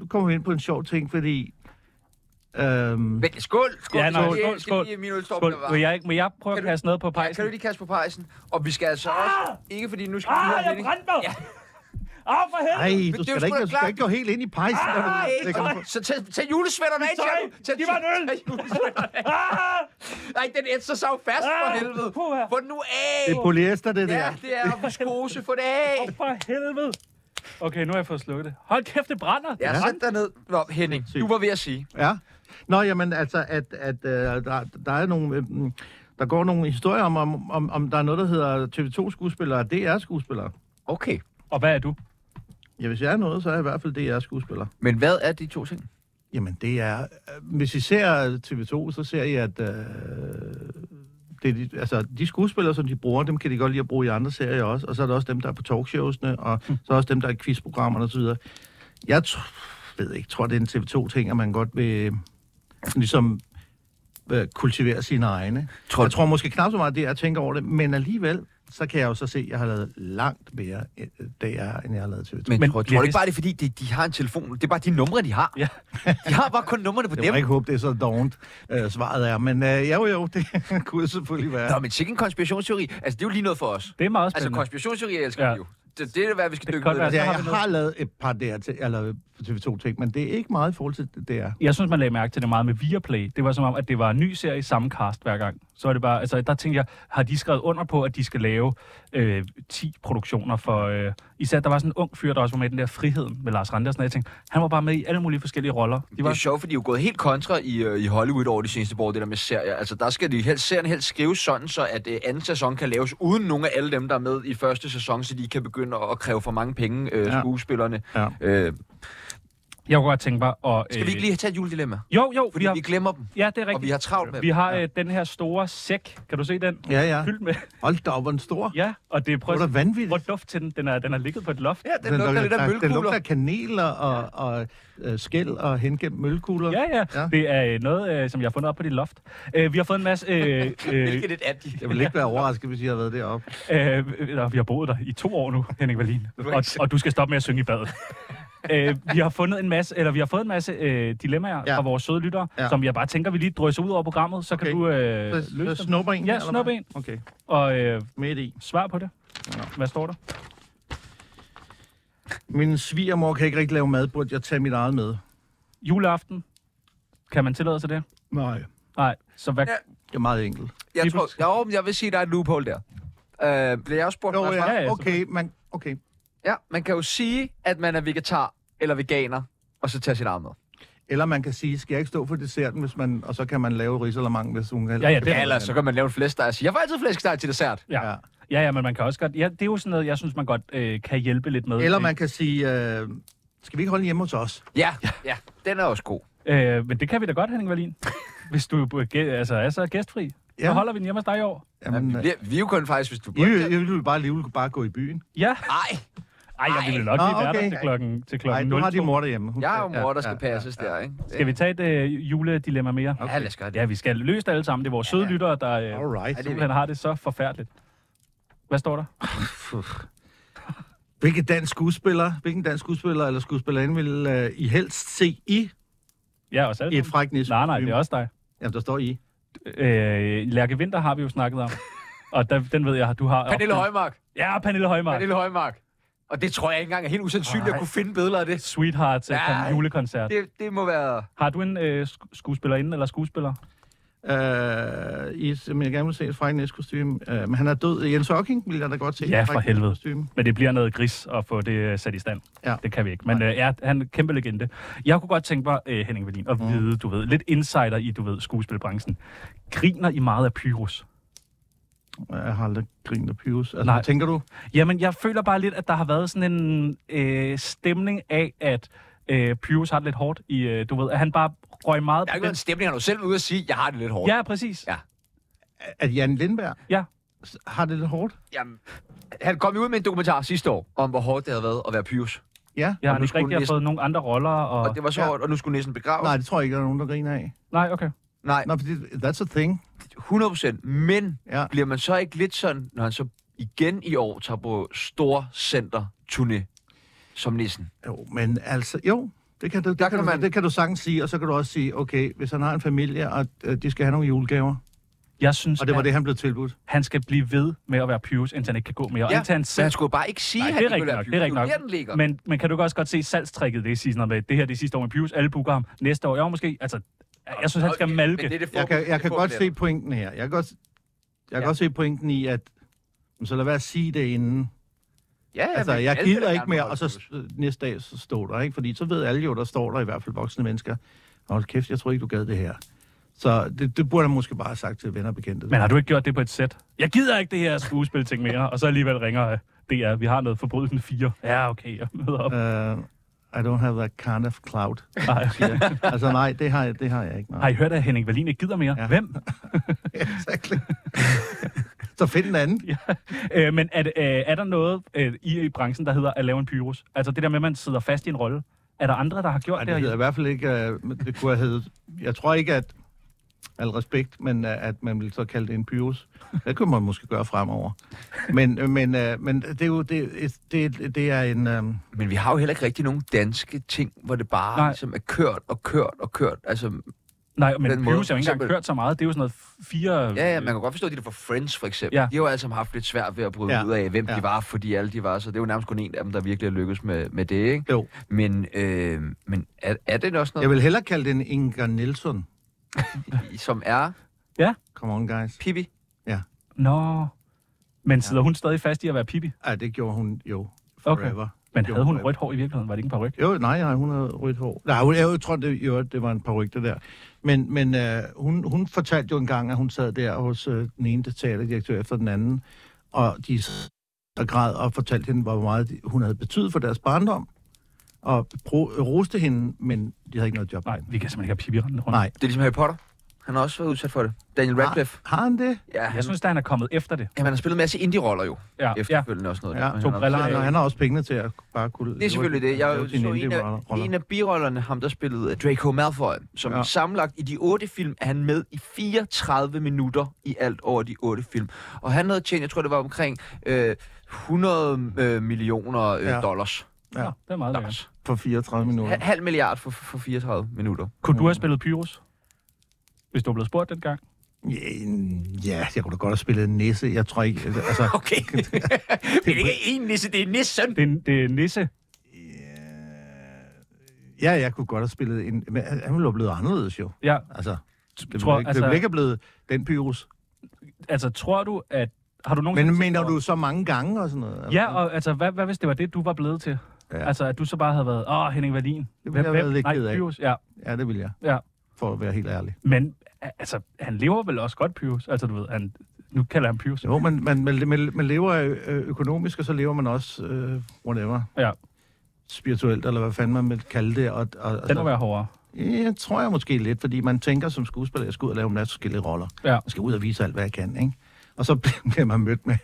Speaker 7: nu kommer vi ind på en sjov ting, fordi... Øhm,
Speaker 2: Men skål! Skål!
Speaker 6: Ja, nej,
Speaker 2: Skal lige-
Speaker 6: skål,
Speaker 2: skal lige-
Speaker 6: skål.
Speaker 2: Min ølstorm
Speaker 6: Skål. Må jeg, ikke- må jeg prøve
Speaker 2: Kan
Speaker 6: at
Speaker 2: du-
Speaker 6: kaste noget på
Speaker 2: Ja, kan
Speaker 6: pejsen? Ah,
Speaker 2: du lige kaste på pejsen? Og vi skal altså også... Ikke fordi nu skal vi have en
Speaker 6: brændte mig! Åh, for
Speaker 7: ej,
Speaker 2: det er
Speaker 7: du
Speaker 2: jo
Speaker 7: skal, da
Speaker 2: sgu
Speaker 7: ikke,
Speaker 2: da
Speaker 7: du skal
Speaker 2: klart.
Speaker 7: ikke gå helt ind i pejsen. Ah,
Speaker 2: Ej,
Speaker 7: det, det kan du få.
Speaker 2: Så tag, tag julesvætterne af,
Speaker 6: Tøj!
Speaker 2: Tjerno! Tag,
Speaker 6: Giv mig en øl!
Speaker 2: Tag julesvætterne af! Nej, den ætser sig jo fast for
Speaker 6: Ah,
Speaker 2: helvede!
Speaker 6: puh, her.
Speaker 2: Få den nu af!
Speaker 7: det er polyester, det der.
Speaker 2: Ja, det er viskose. Få det af!
Speaker 6: For helvede! Okay, nu har jeg fået slukket det. Hold kæft, det brænder!
Speaker 2: Ja, sæt dig ned. Nå, Henning, du var ved at sige.
Speaker 7: Ja. Nå, jamen altså, at, at øh, der, der er nogle... Øh, mm, der går nogle historier om, om, om, om der er noget, der hedder TV2-skuespillere og DR-skuespillere.
Speaker 2: Okay,
Speaker 6: Og hvad er du?
Speaker 7: Ja, hvis jeg er noget, så er jeg i hvert fald DR-skuespiller.
Speaker 2: men hvad er de to ting?
Speaker 7: Jamen, det er... øh, Hvis I ser TV2, så ser I, at... Øh, det er de, altså, de skuespillere, som de bruger, dem kan de godt lide at bruge i andre serier også. Og så er der også dem, der er på talkshowsene, og så er der også dem, der er i quizprogrammerne osv. Jeg tr- ved ikke, tror, det er en TV2-ting, at man godt vil ligesom øh, kultivere sine egne.
Speaker 2: Tror
Speaker 7: Tror, jeg
Speaker 2: du-
Speaker 7: tror måske knap så meget, det er at tænke over det, men alligevel, så kan jeg jo så se, at jeg har lavet langt mere øh, DR, end jeg har lavet TV2.
Speaker 2: Men, men
Speaker 6: Men
Speaker 2: tror, tror
Speaker 6: bliver
Speaker 2: du
Speaker 6: det-
Speaker 2: ikke bare, det er fordi, de, de har en telefon? Det er bare de numre, de har.
Speaker 6: Ja.
Speaker 2: De har bare kun numrene på
Speaker 7: Det
Speaker 2: dem.
Speaker 7: var ikke håbe, det er så dovent, øh, svaret er. Men øh, jo, jo, det kunne selvfølgelig være.
Speaker 2: Nå, men sikkert en konspirationsteori. Altså, det er jo lige noget for os.
Speaker 6: Det er meget
Speaker 2: Altså,
Speaker 6: spændende.
Speaker 2: konspirationsteori jeg elsker
Speaker 6: Ja.
Speaker 2: ja. jo. Det, det er hvad vi skal
Speaker 6: Det
Speaker 2: dykke
Speaker 6: kan
Speaker 2: ned
Speaker 6: godt
Speaker 2: i.
Speaker 6: være.
Speaker 7: Ja,
Speaker 6: har
Speaker 7: jeg
Speaker 6: vi noget.
Speaker 7: har lavet et par der til, eller TV2-ting, men det er ikke meget i forhold til det der.
Speaker 6: Jeg synes, man lagde mærke til det meget med Viaplay. Det var som om, at det var en ny serie, samme cast hver gang. Så er det bare, altså, der tænkte jeg, har de skrevet under på, at de skal lave øh, 10 produktioner for... Øh, især, der var sådan en ung fyr, der også var med i den der Friheden med Lars Randers, og jeg tænkte, han var bare med i alle mulige forskellige roller. De
Speaker 2: Det
Speaker 6: var,
Speaker 2: er sjovt, fordi de er jo gået helt kontra i, øh, i Hollywood over de seneste par år, det der med serier. Altså, der skal de helst, serien helst skrives sådan, så at øh, anden sæson kan laves uden nogen af alle dem, der er med i første sæson, så de kan begynde at, at kræve for mange penge, øh,
Speaker 7: Ja.
Speaker 2: skuespillerne.
Speaker 7: Ja.
Speaker 2: Øh,
Speaker 6: jeg kunne godt tænke mig at... Øh,
Speaker 2: skal vi ikke lige tage et juledilemma?
Speaker 6: Jo, jo,
Speaker 2: Fordi
Speaker 6: vi har,
Speaker 2: vi glemmer dem,
Speaker 6: ja, det er rigtigt.
Speaker 2: og vi har travlt med
Speaker 6: Vi
Speaker 2: dem.
Speaker 6: har øh, den her store sæk. Kan du se den?
Speaker 7: Ja, ja.
Speaker 6: Fyldt med.
Speaker 7: Hold da op, hvor er den stor.
Speaker 6: Ja, og det er
Speaker 7: Det var
Speaker 6: prøv
Speaker 7: da vanvittigt.
Speaker 6: hvor duft til den. Den er, den er ligget på et loft.
Speaker 2: Ja, den lugter lidt af
Speaker 7: den lugter
Speaker 2: mølkugler.
Speaker 7: af kanel og, og, og øh, skæld og hengemt mølkugler.
Speaker 6: Ja, ja.
Speaker 7: Ja.
Speaker 6: Det er øh, noget, øh, som jeg har fundet op på dit loft. Øh, vi har fået en masse... Øh, øh,
Speaker 2: Hvilket et af de?
Speaker 7: Jeg vil ikke være overrasket, hvis I har været deroppe.
Speaker 6: øh, øh, vi har boet der i to år nu, Henning Wallin. Og, og du skal stoppe med at synge i badet. øh, vi har fundet en masse, eller vi har fået en masse øh, dilemmaer ja.
Speaker 7: Ja.
Speaker 6: fra vores søde lyttere, ja.
Speaker 7: Ja.
Speaker 6: som jeg bare tænker, vi lige drysser ud over programmet, så okay. kan
Speaker 7: Okay.
Speaker 6: du øh,
Speaker 7: Så, så
Speaker 6: løse dem
Speaker 7: snupper en?
Speaker 6: Ja,
Speaker 7: her, eller
Speaker 6: snup
Speaker 7: hvad?
Speaker 6: en.
Speaker 7: Okay,
Speaker 6: og øh,
Speaker 7: midt i.
Speaker 6: svar på det. Hvad står der?
Speaker 7: Min svigermor kan ikke rigtig lave mad, burde jeg tage mit eget med?
Speaker 6: Juleaften? Kan man tillade sig det?
Speaker 7: Nej.
Speaker 6: Nej, så hvad...
Speaker 2: Ja.
Speaker 7: Det er meget enkelt.
Speaker 2: Jeg
Speaker 6: Lige
Speaker 2: tror, jo, men jeg vil sige, der er et loophole der. Øh, bliver jeg også spurgt?
Speaker 7: Jo,
Speaker 2: når jeg svarer?
Speaker 7: ja,
Speaker 6: ja,
Speaker 7: okay, man, okay.
Speaker 2: ja. Man kan jo sige, at man er vegetar eller veganer, og så tage sit eget med.
Speaker 7: Eller man kan sige, skal jeg ikke stå for desserten, hvis man, og så kan man lave risalamang, hvis hun kan.
Speaker 6: Ja, ja, det
Speaker 2: Ja,
Speaker 6: er
Speaker 2: eller så kan man lave en flæskesteg og sige, jeg får altid flæskesteg til dessert.
Speaker 6: Ja. ja, ja, men man kan også godt... Ja, det er jo sådan noget, jeg synes, man godt øh, kan hjælpe lidt med.
Speaker 7: Eller man kan sige, øh, skal vi ikke holde hjemme hos os?
Speaker 2: Ja, ja. Den er også god.
Speaker 6: Øh, men det kan vi da godt, Henning Wallin. hvis du øh, gæ- altså, er så gæstfri. Ja. Så
Speaker 7: Ja.
Speaker 6: holder vi den hjemme hos dig i år.
Speaker 7: Jamen, øh,
Speaker 2: Vi, vi er jo kun faktisk, hvis du
Speaker 7: I, vil- I ville bare lige bare gå i byen.
Speaker 6: Ja.
Speaker 2: Nej,
Speaker 6: Ej, jeg ville nok
Speaker 7: Nå,
Speaker 6: lige være der
Speaker 7: okay.
Speaker 6: til klokken, til
Speaker 7: Nej,
Speaker 6: klokken
Speaker 7: nu har
Speaker 6: 02.
Speaker 7: de mor derhjemme. Hun-
Speaker 2: jeg er jo mor, der skal
Speaker 7: ja,
Speaker 2: passes
Speaker 7: ja.
Speaker 2: der, ikke?
Speaker 6: Skal vi tage et øh, juledilemma mere?
Speaker 2: Okay. Ja, lad os gøre det.
Speaker 6: Ja, vi skal løse det alle sammen. Det er vores søde lyttere, der øh,
Speaker 7: Alright.
Speaker 6: simpelthen har det så forfærdeligt. Hvad står der?
Speaker 7: Hvilken dansk skuespiller, hvilken dansk skuespiller eller skuespillerinde vil øh, I helst se i
Speaker 6: Ja, os alle
Speaker 7: et
Speaker 6: sammen.
Speaker 7: fræk næse?
Speaker 6: Nej, nej, det er også dig.
Speaker 7: Jamen, der står I.
Speaker 6: Øh, Lærke Vinter har vi jo snakket om. Og der, den ved jeg, du har...
Speaker 2: Pernille Højmark.
Speaker 6: Ja, Pernille Højmark.
Speaker 2: Pernille Højmark. Og det tror jeg ikke engang er helt usandsynligt
Speaker 6: Nej.
Speaker 2: at kunne finde billeder af det.
Speaker 6: Sweetheart til
Speaker 2: Nej.
Speaker 6: en julekoncert.
Speaker 2: Det, det må være...
Speaker 6: Har du en øh, sk- skuespillerinde eller skuespiller?
Speaker 7: Øh, I som jeg gerne vil se et fræk næse kostume. Øh, men han er død. Jens Hocking vil jeg da godt se. i et
Speaker 6: Ja,
Speaker 7: fræk
Speaker 6: for helvede.
Speaker 7: næsekostyme.
Speaker 6: Men det bliver noget gris at få det øh, sat i stand.
Speaker 7: Ja.
Speaker 6: Det kan vi ikke. Men øh, ja, han er en kæmpe legende. Jeg kunne godt tænke mig, øh, Henning Wallin, at vide, du ved, lidt insider i, du ved, skuespilbranchen. Griner I meget af Pyrus?
Speaker 7: Jeg har aldrig grinet af Pyrus. Altså,
Speaker 6: Nej.
Speaker 7: hvad tænker du?
Speaker 6: Jamen, jeg føler bare lidt, at der har været sådan en øh, stemning af, at øh, Pyrus har det lidt hårdt i, øh, du ved, at han bare røg meget...
Speaker 2: Der er ikke noget en stemning, han er jo selv ude at sige, jeg har det lidt hårdt.
Speaker 6: Ja, præcis.
Speaker 2: Ja.
Speaker 7: At Jan Lindberg
Speaker 6: Ja.
Speaker 7: s- har det lidt hårdt?
Speaker 2: Jamen, han kom jo ud med en dokumentar sidste år, om hvor hårdt det havde været at være pyrus.
Speaker 7: Ja.
Speaker 6: Jeg har
Speaker 2: Og nu
Speaker 6: ikke
Speaker 2: skulle
Speaker 6: rigtig har
Speaker 2: næsten-
Speaker 6: fået nogen andre roller. Og...
Speaker 2: Og det var så
Speaker 7: Ja.
Speaker 2: hårdt, og nu skulle næsten begraves.
Speaker 7: Nej, det tror jeg ikke, der er nogen, der griner af.
Speaker 6: Nej, okay.
Speaker 2: Nej,
Speaker 7: Nå, for det, that's a thing.
Speaker 2: 100 procent. Men
Speaker 7: Ja.
Speaker 2: bliver man så ikke lidt sådan, når han så igen i år tager på store center turné som nissen?
Speaker 7: Jo, men altså, jo, det kan, du, det, kan
Speaker 2: kan
Speaker 7: du,
Speaker 2: man-
Speaker 7: det kan du sagtens sige, og så kan du også sige, okay, hvis han har en familie, og øh, de skal have nogle julegaver,
Speaker 6: Jeg synes,
Speaker 7: og det var
Speaker 6: at
Speaker 7: det, han blev tilbudt.
Speaker 6: han skal blive ved med at være Pyrus, indtil han ikke kan gå mere.
Speaker 2: Ja,
Speaker 6: indtil han
Speaker 2: Men
Speaker 6: selv
Speaker 2: han skulle jo bare ikke sige,
Speaker 6: Nej,
Speaker 2: at
Speaker 6: det
Speaker 2: han
Speaker 6: er
Speaker 2: ikke ville
Speaker 6: rigtigt
Speaker 2: være
Speaker 6: nok. Det er
Speaker 2: pyrus. Det
Speaker 6: rigtigt nok.
Speaker 2: den ligger.
Speaker 6: Men, men kan du ikke også godt se salgstrækket, det siger sådan noget med, det her det er sidste år med Pius, alle booker ham, næste år, jo måske, altså, jeg synes, han skal
Speaker 2: Okay, Men
Speaker 6: malke.
Speaker 2: det er det
Speaker 7: Jeg
Speaker 2: forbehold,
Speaker 7: kan, jeg
Speaker 2: det
Speaker 7: kan godt se
Speaker 2: forbehold.
Speaker 7: pointen her. Jeg kan godt, jeg kan godt se pointen i, at men så lad være at sige det inden.
Speaker 2: Ja, ja,
Speaker 7: altså,
Speaker 2: men
Speaker 7: jeg
Speaker 2: alle vil
Speaker 7: gider
Speaker 2: da
Speaker 7: ikke
Speaker 2: gerne
Speaker 7: mere,
Speaker 2: holde
Speaker 7: og så
Speaker 2: Pyrus.
Speaker 7: øh, næste dag så står der, ikke? Fordi så ved alle jo, der står der i hvert fald voksne mennesker, hold kæft, jeg tror ikke, du gad det her. Så det, det burde jeg måske bare have sagt til venner og bekendte.
Speaker 6: Men har du ikke gjort det på et sæt? Jeg gider ikke det her skuespil-ting mere, og så alligevel ringer øh, DR, vi har noget forbrydelsen 4. Ja, okay, jeg møder op.
Speaker 7: Uh, I don't have that kind of cloud.
Speaker 6: Nej.
Speaker 7: siger. altså nej, det har jeg, det har jeg ikke.
Speaker 6: Har
Speaker 7: Nej.
Speaker 6: I hørt, at Henning Wallin ikke gider mere? Ja.
Speaker 7: Ja.
Speaker 6: Hvem?
Speaker 7: exactly. så find en anden.
Speaker 6: Øh, men er, det, øh, er der noget øh, i, i branchen, der hedder at lave en Pyrus? Altså det der med, at man sidder fast i en rolle. Er der andre, der har gjort
Speaker 7: Ej,
Speaker 6: det?
Speaker 7: det hedder i
Speaker 6: her?
Speaker 7: hvert fald ikke, øh, men det kunne have heddet. Jeg tror ikke, at al respekt, men øh, at man ville så kalde det en pyrus. Det kunne man måske gøre fremover. Men, øh, men, øh, men det er jo, det, er et- det, er- det er en, øh,
Speaker 2: Men vi har jo heller ikke rigtig nogen danske ting, hvor det bare
Speaker 6: Nej.
Speaker 2: ligesom er kørt og kørt og kørt. Altså,
Speaker 6: Nej, men
Speaker 2: den
Speaker 6: Pyrus
Speaker 2: måde,
Speaker 6: har jo ikke engang
Speaker 2: simpelthen.
Speaker 6: kørt så meget. Det er jo sådan noget f- fire...
Speaker 2: ja, ja, man kan godt forstå, at de der fra Friends for eksempel,
Speaker 6: Ja.
Speaker 2: ja. de har jo alle sammen haft lidt svært ved at bryde
Speaker 7: Ja.
Speaker 2: ja. ud af, hvem ja.
Speaker 7: Ja.
Speaker 2: de var, fordi alle de var, så det er jo nærmest kun en af dem, der virkelig har lykkes med, med det, ikke?
Speaker 7: jo.
Speaker 2: Men, øh, men er, er det også
Speaker 7: Jeg
Speaker 2: noget,
Speaker 7: vil hellere kalde det en Inger Nielsen.
Speaker 2: vil... som er
Speaker 7: Come on, guys.
Speaker 2: Pippi?
Speaker 6: Nå. Men sidder hun stadig fast i at være Pippi?
Speaker 7: Ja, det gjorde hun jo.
Speaker 6: Okay.
Speaker 7: Forever. Okay.
Speaker 6: Men
Speaker 7: Jo,
Speaker 6: havde hun
Speaker 7: øh,
Speaker 6: rødt hår i virkeligheden? Var det ikke en par ryg?
Speaker 7: Jo, nej, nej, hun havde rødt hår. Nej, hun, jeg tror, det, jo, det var en par rygter der. Men, men øh, hun, hun fortalte jo engang, at hun sad der hos øh, den ene teaterdirektør efter den anden, og de s- og græd og fortalte hende, hvor meget de, hun havde betydet for deres barndom, og pro, roste hende, men de havde ikke noget job.
Speaker 6: Nej, vi kan simpelthen ikke have Pippi rendende rundt.
Speaker 7: Nej.
Speaker 2: Det er ligesom Harry Potter. Han har også været udsat for det. Daniel Radcliffe.
Speaker 7: Har, har han det?
Speaker 2: Ja, han,
Speaker 6: Ah. Jeg synes, at han er kommet efter det.
Speaker 2: jamen, han har spillet en masse indie-roller jo,
Speaker 6: Ja, ja.
Speaker 2: efterfølgende også noget.
Speaker 7: Ja,
Speaker 2: der. Men
Speaker 6: to
Speaker 2: han har-
Speaker 6: briller
Speaker 7: Nej, nej, han har også pengene til at bare kunne...
Speaker 2: Det er
Speaker 7: leve-
Speaker 2: selvfølgelig det. Jeg
Speaker 7: lave
Speaker 2: så
Speaker 7: sine
Speaker 2: en af,
Speaker 7: indie-roller.
Speaker 2: en af birollerne, ham der spillede Draco Malfoy, som
Speaker 7: Ja.
Speaker 2: ja. sammenlagt i de otte film, er han med i 34 minutter i alt over de otte film. Og han havde tjent, jeg tror det var omkring øh, 100 øh, millioner øh,
Speaker 7: Ja.
Speaker 2: ja. dollars.
Speaker 6: Ja.
Speaker 7: Ja.
Speaker 6: det er meget lækkert.
Speaker 2: dollars.
Speaker 7: For 34 minutter.
Speaker 2: Ha- halv milliard for, for 34 minutter.
Speaker 6: Kunne du have spillet Pyrus? Hvis du blev spurgt dengang.
Speaker 7: Ja, ja, jeg kunne da godt have spillet en nisse. Jeg tror ikke... Altså,
Speaker 2: Okay. det er ikke en nisse, det er nissen.
Speaker 6: Det er, det er Nisse.
Speaker 7: Ja, jeg kunne godt have spillet en... Men øh, han ville jo blevet anderledes jo.
Speaker 6: Ja.
Speaker 7: Altså, det ville
Speaker 6: Tror-
Speaker 7: ikke, altså,
Speaker 6: altså-
Speaker 7: det ville ikke have blevet den Pyrus.
Speaker 6: Altså, tror du, at... Har du nogensinde
Speaker 7: Men
Speaker 6: tænkt
Speaker 7: mener
Speaker 6: over-
Speaker 7: du så mange gange og sådan noget? eller?
Speaker 6: Ja, og altså, hvad, hvad hvis det var det, du var blevet til?
Speaker 7: Ja.
Speaker 6: Ja. Altså, at du så bare havde været, åh, Henning Wallin.
Speaker 7: ville jeg have været lidt
Speaker 6: Nej,
Speaker 7: ked af.
Speaker 6: Pyrus, ja.
Speaker 7: ja, det ville jeg.
Speaker 6: Ja.
Speaker 7: For at være helt ærlig.
Speaker 6: Men, a- altså, han lever vel også godt, Pyrus? Altså, du ved, han, nu kalder han Pyrus.
Speaker 7: Jo, man, man, man, man, man lever ø- ø- økonomisk, og så lever man også, øh, whatever,
Speaker 6: Ja,
Speaker 7: spirituelt, eller hvad fanden man vil kalde det. Og, og,
Speaker 6: den må være hårdere.
Speaker 7: Ja, tror jeg måske lidt, fordi man tænker som skuespiller, jeg skal ud og lave en masse forskellige roller.
Speaker 6: Ja.
Speaker 7: Jeg skal ud og vise alt, hvad jeg kan, ikke? Og så bliver man mødt med,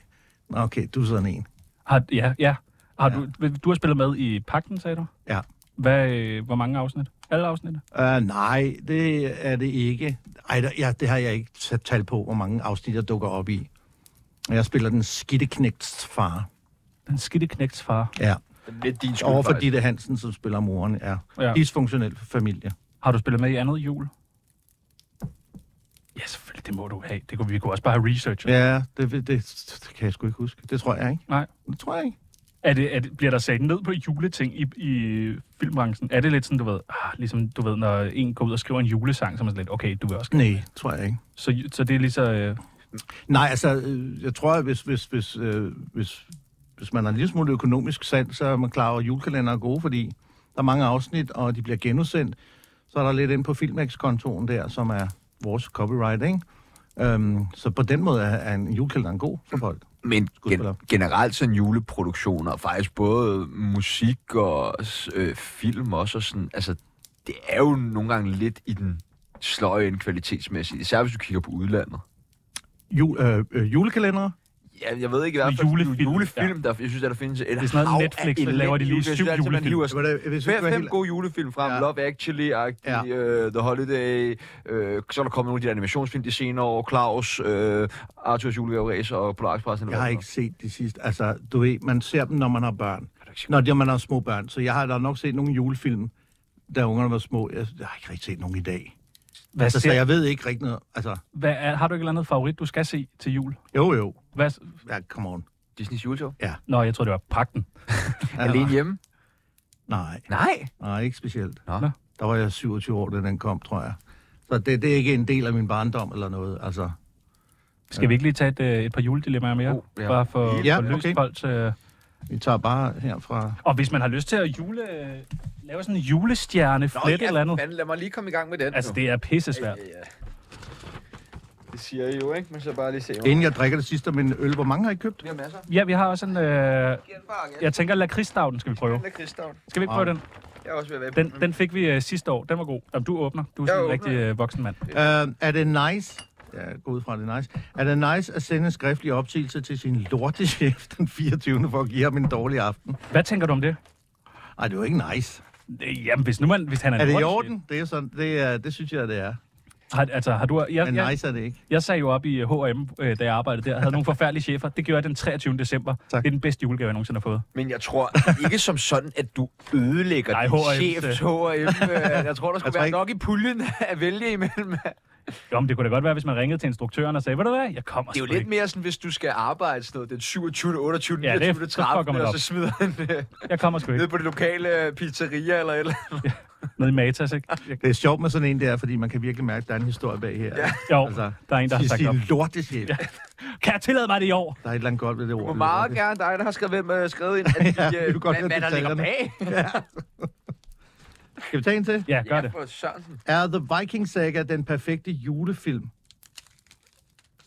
Speaker 7: "Nå, okay, du er sådan en.
Speaker 6: Har, ja, ja. Har
Speaker 7: Ja.
Speaker 6: ja. Du, du har spillet med i Pakten, sagde du?
Speaker 7: Ja.
Speaker 6: Hvad, øh, hvor mange afsnit? Alle afsnit?
Speaker 7: Uh, nej, det er det ikke. Ej, der, ja, det har jeg ikke sat tal på, hvor mange afsnit, jeg dukker op i. Jeg spiller den skidteknægts far.
Speaker 6: Den skidte knægts far.
Speaker 7: Ja.
Speaker 2: Det er din skyld,
Speaker 7: Overfor
Speaker 2: faktisk.
Speaker 7: Ditte Hansen, som spiller moren, er ja.
Speaker 6: Ja.
Speaker 7: dysfunktionel familie.
Speaker 6: Har du spillet med i andet jul? Ja, selvfølgelig, det må du have. Det kunne, vi kunne også bare have researchet. Ja.
Speaker 7: Ja, det, det, det, det kan jeg sgu ikke huske. Det tror jeg ikke.
Speaker 6: Nej.
Speaker 7: Det tror jeg ikke.
Speaker 6: Er det, er det, bliver der sat ned på juleting i, i filmbranchen? Er det lidt sådan, du ved, ah, ligesom du ved, når en går ud og skriver en julesang, så er man sådan lidt, okay, du vil også gerne.
Speaker 7: Nej, tror jeg ikke.
Speaker 6: Så, så det er lige så... Øh,
Speaker 7: Nej, altså, øh, jeg tror, at hvis, hvis, hvis, øh, hvis, hvis man har en lille smule økonomisk sand, så er man klar over, at julekalender er gode, fordi der er mange afsnit, og de bliver genudsendt. Så er der lidt ind på Filmex-kontoen der, som er vores copyright, ikke? Øhm, så på den måde er, er en julekalender god for folk.
Speaker 2: Men
Speaker 7: Skuespiller.
Speaker 2: gen- generelt sådan juleproduktioner, faktisk både musik og s- øh, film også, og sådan, altså, det er jo nogle gange lidt i den sløje end kvalitetsmæssigt, især hvis du kigger på udlandet.
Speaker 7: Ju, øh, øh, julekalender?
Speaker 2: Ja, jeg ved ikke i hvert fald,
Speaker 6: Julefilm,
Speaker 2: julefilm der, jeg synes, at der findes et
Speaker 6: Det er sådan noget Netflix, så laver de lige syv julefilm.
Speaker 7: Hvis
Speaker 2: Hver fem gode julefilm frem.
Speaker 7: Ja.
Speaker 2: Ja. Love Actually, Agtig,
Speaker 7: Ja.
Speaker 2: ja. uh, The Holiday. Uh, så er der kommet nogle af de der animationsfilm de senere år. Claus, uh, Arthurs julegaveræs og Polarispressen.
Speaker 7: Jeg har ikke set de sidste. Altså, du ved, man ser dem, når man har børn.
Speaker 2: du ikke set
Speaker 7: Når det- man har små børn. Så jeg har da nok set nogle julefilm, da ungerne var små. Jeg, jeg har ikke rigtig set nogen i dag.
Speaker 6: hvad,
Speaker 7: Altså, så
Speaker 6: ser, jeg...
Speaker 7: jeg ved ikke rigtig noget. Altså,
Speaker 6: hvad er, har du ikke et eller andet favorit, du skal se til jul?
Speaker 7: jo jo.
Speaker 6: Hvad, s-
Speaker 7: Ja, come on.
Speaker 2: Disneys juleshow.
Speaker 6: nå, jeg tror det var Pakten.
Speaker 7: Altså,
Speaker 2: Alene hjemme?
Speaker 7: Nej,
Speaker 2: Nej.
Speaker 7: nej, ikke specielt.
Speaker 2: Nå.
Speaker 6: Nå.
Speaker 7: Der var jeg 27 år, da den kom, tror jeg. Så det, det er ikke en del af min barndom eller noget. Altså,
Speaker 6: Skal vi ikke lige tage et, øh, et par juledilemmaer mere?
Speaker 2: Oh, ja.
Speaker 6: Bare for,
Speaker 7: Ja,
Speaker 6: for løst
Speaker 7: okay.
Speaker 6: folks... Øh,
Speaker 7: vi tager bare herfra.
Speaker 6: og hvis man har lyst til at jule, øh, lave sådan en julestjerne,
Speaker 2: Nå,
Speaker 6: flet
Speaker 2: ja,
Speaker 6: eller andet.
Speaker 2: Fanden, lad mig lige komme i gang med den.
Speaker 6: Altså,
Speaker 2: nu.
Speaker 6: det er pissesvært.
Speaker 2: Ja, ja. Det siger I jo, ikke? Men så bare lige se.
Speaker 7: Inden jeg drikker det sidste af min øl, hvor mange har I købt?
Speaker 2: Vi har masser.
Speaker 6: Ja, vi har også en... Øh,
Speaker 2: Giv den bare igen.
Speaker 6: jeg tænker, lakridsdagen skal vi prøve.
Speaker 2: Den er Kristavn.
Speaker 6: Skal vi ikke prøve den?
Speaker 2: Jeg er også ved at være
Speaker 6: Den, den fik vi øh, sidste år. Den var god. Jamen, du åbner. Du er sådan en
Speaker 2: åbner.
Speaker 6: rigtig øh, voksen mand.
Speaker 7: Øh, er det nice? Ja, gå ud fra, det er nice. Er det nice at sende en skriftlig opsigelse til sin lortechef den 24. for at give ham en dårlig aften?
Speaker 6: Hvad tænker du om det?
Speaker 7: Nej, det er jo ikke nice.
Speaker 6: Øh, Jamen, hvis nu man... Hvis han er,
Speaker 7: Er det i
Speaker 6: lortechef-
Speaker 7: orden? Det, er sådan, det, er, det synes jeg, det er.
Speaker 6: Har, altså, har du... Jeg,
Speaker 7: Men
Speaker 6: jeg,
Speaker 7: nice er det ikke.
Speaker 6: jeg sagde jo op i øh, H&M, øh, da jeg arbejdede der. Jeg havde nogle forfærdelige chefer. Det gjorde jeg den 23. december.
Speaker 7: Tak.
Speaker 6: Det er den bedste julegave, jeg nogensinde har fået.
Speaker 2: Men jeg tror ikke som sådan, at du ødelægger
Speaker 6: Nej,
Speaker 2: din
Speaker 6: H&M,
Speaker 2: chefs H&M. øh, Jeg tror, der skulle
Speaker 7: tror
Speaker 2: være
Speaker 7: ikke-
Speaker 2: nok i puljen at vælge imellem.
Speaker 6: Jo, men det kunne da godt være, hvis man ringede til instruktøren og sagde, ved du hvad, jeg kommer
Speaker 2: Det er jo
Speaker 6: sgu
Speaker 2: lidt
Speaker 6: ikke.
Speaker 2: mere sådan, hvis du skal arbejde sådan noget, den 27., 28.,
Speaker 6: Ja, det-
Speaker 2: 29., ja,
Speaker 6: så fucker
Speaker 2: 30.,
Speaker 6: man
Speaker 2: og
Speaker 6: op.
Speaker 2: så smider han øh,
Speaker 6: Jeg kommer sgu
Speaker 2: ned
Speaker 6: ikke.
Speaker 2: på det lokale øh, pizzeria eller et eller andet.
Speaker 6: Nede i Matas, ikke? Jeg,
Speaker 7: Det er sjovt med sådan en der, fordi man kan virkelig mærke, at der er en historie bag her. Ja.
Speaker 6: jo,
Speaker 7: Altså,
Speaker 6: der er en, der har
Speaker 7: Til
Speaker 6: sagt op.
Speaker 7: sin lortechef. Ja.
Speaker 6: Kan jeg tillade mig det i år?
Speaker 7: Der er et eller andet godt ved det ord.
Speaker 2: Det må meget gerne dig, der har skrevet, hvem, øh, skrevet ind, at
Speaker 7: Ja,
Speaker 2: de,
Speaker 7: vi vil
Speaker 2: øh,
Speaker 7: godt
Speaker 2: hvad,
Speaker 7: have
Speaker 2: hvad der ligger
Speaker 7: detaljerne.
Speaker 2: bag.
Speaker 7: Skal vi tage en til?
Speaker 6: Ja, gør
Speaker 2: Ja,
Speaker 6: det.
Speaker 2: for Sørensen.
Speaker 7: Er The Viking Saga den perfekte julefilm?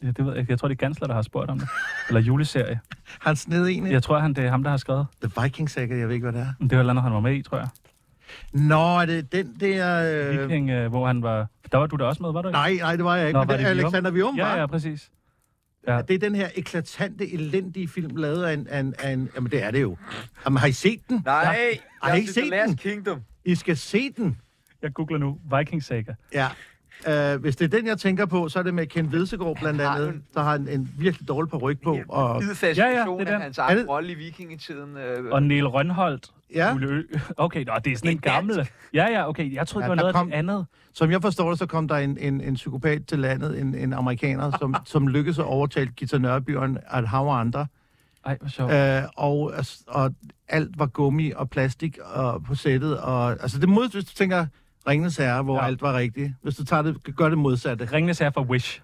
Speaker 6: Ja, det ved jeg ikke. Jeg tror, det er Gansler, der har spurgt om det. Eller juleserie.
Speaker 7: Har han sned en? Ja.
Speaker 6: Jeg tror, han, det er ham, der har skrevet.
Speaker 7: The Viking Saga, jeg ved ikke, hvad det er.
Speaker 6: Men Det var et eller andet, han var med i, tror jeg.
Speaker 7: Nå, er det den der... Øh...
Speaker 6: Viking, øh, hvor han var... Der var du da også med, var du ikke?
Speaker 7: Nej, nej, det var jeg ikke. Nå, men
Speaker 6: var
Speaker 7: det er
Speaker 6: Vium?
Speaker 7: Alexander Vium, var?
Speaker 6: Ja, ja, præcis.
Speaker 7: Ja. Det er den her eklatante, elendige film, lavet af en... Af en, af en jamen, det er det jo. Jamen, har I set den?
Speaker 2: Nej,
Speaker 7: Har I
Speaker 2: jeg
Speaker 7: ikke
Speaker 2: synes, det er
Speaker 7: set
Speaker 2: Last
Speaker 7: den?
Speaker 2: Kingdom.
Speaker 7: I skal se den.
Speaker 6: Jeg googler nu Viking Saga.
Speaker 7: Ja. Uh, hvis det er den, jeg tænker på, så er det med Ken Vedsegaard blandt
Speaker 2: har
Speaker 7: andet, der har en, en virkelig dårlig paryk på. Og,
Speaker 2: Hvid
Speaker 6: Ja, ja, det er
Speaker 2: fascination
Speaker 6: den.
Speaker 2: af hans
Speaker 7: Er det-
Speaker 2: egen rolle i vikingetiden. Øh,
Speaker 6: Og Neil Rønholdt.
Speaker 7: Ja.
Speaker 6: Ole Ø. Okay, nå, det er sådan en
Speaker 2: Det er
Speaker 6: gammel. Ja, ja, okay. Jeg troede,
Speaker 7: Ja,
Speaker 6: det var
Speaker 7: der
Speaker 6: noget
Speaker 7: kom-
Speaker 6: af det andet.
Speaker 7: som jeg forstår det, så kom der en, en, en psykopat til landet, en, en amerikaner, som, som lykkedes at overtale Gita Nørrebyen, at hav og andre
Speaker 6: Ej, hvor sjovt.
Speaker 7: Øh, og, altså, og alt var gummi og plastik og på sættet. Og, altså det modsatte, hvis du tænker Ringenes Herre, hvor
Speaker 6: Ja.
Speaker 7: ja. alt var rigtigt. Hvis du tager det, gør det modsatte.
Speaker 6: Ringenes Herre fra Wish.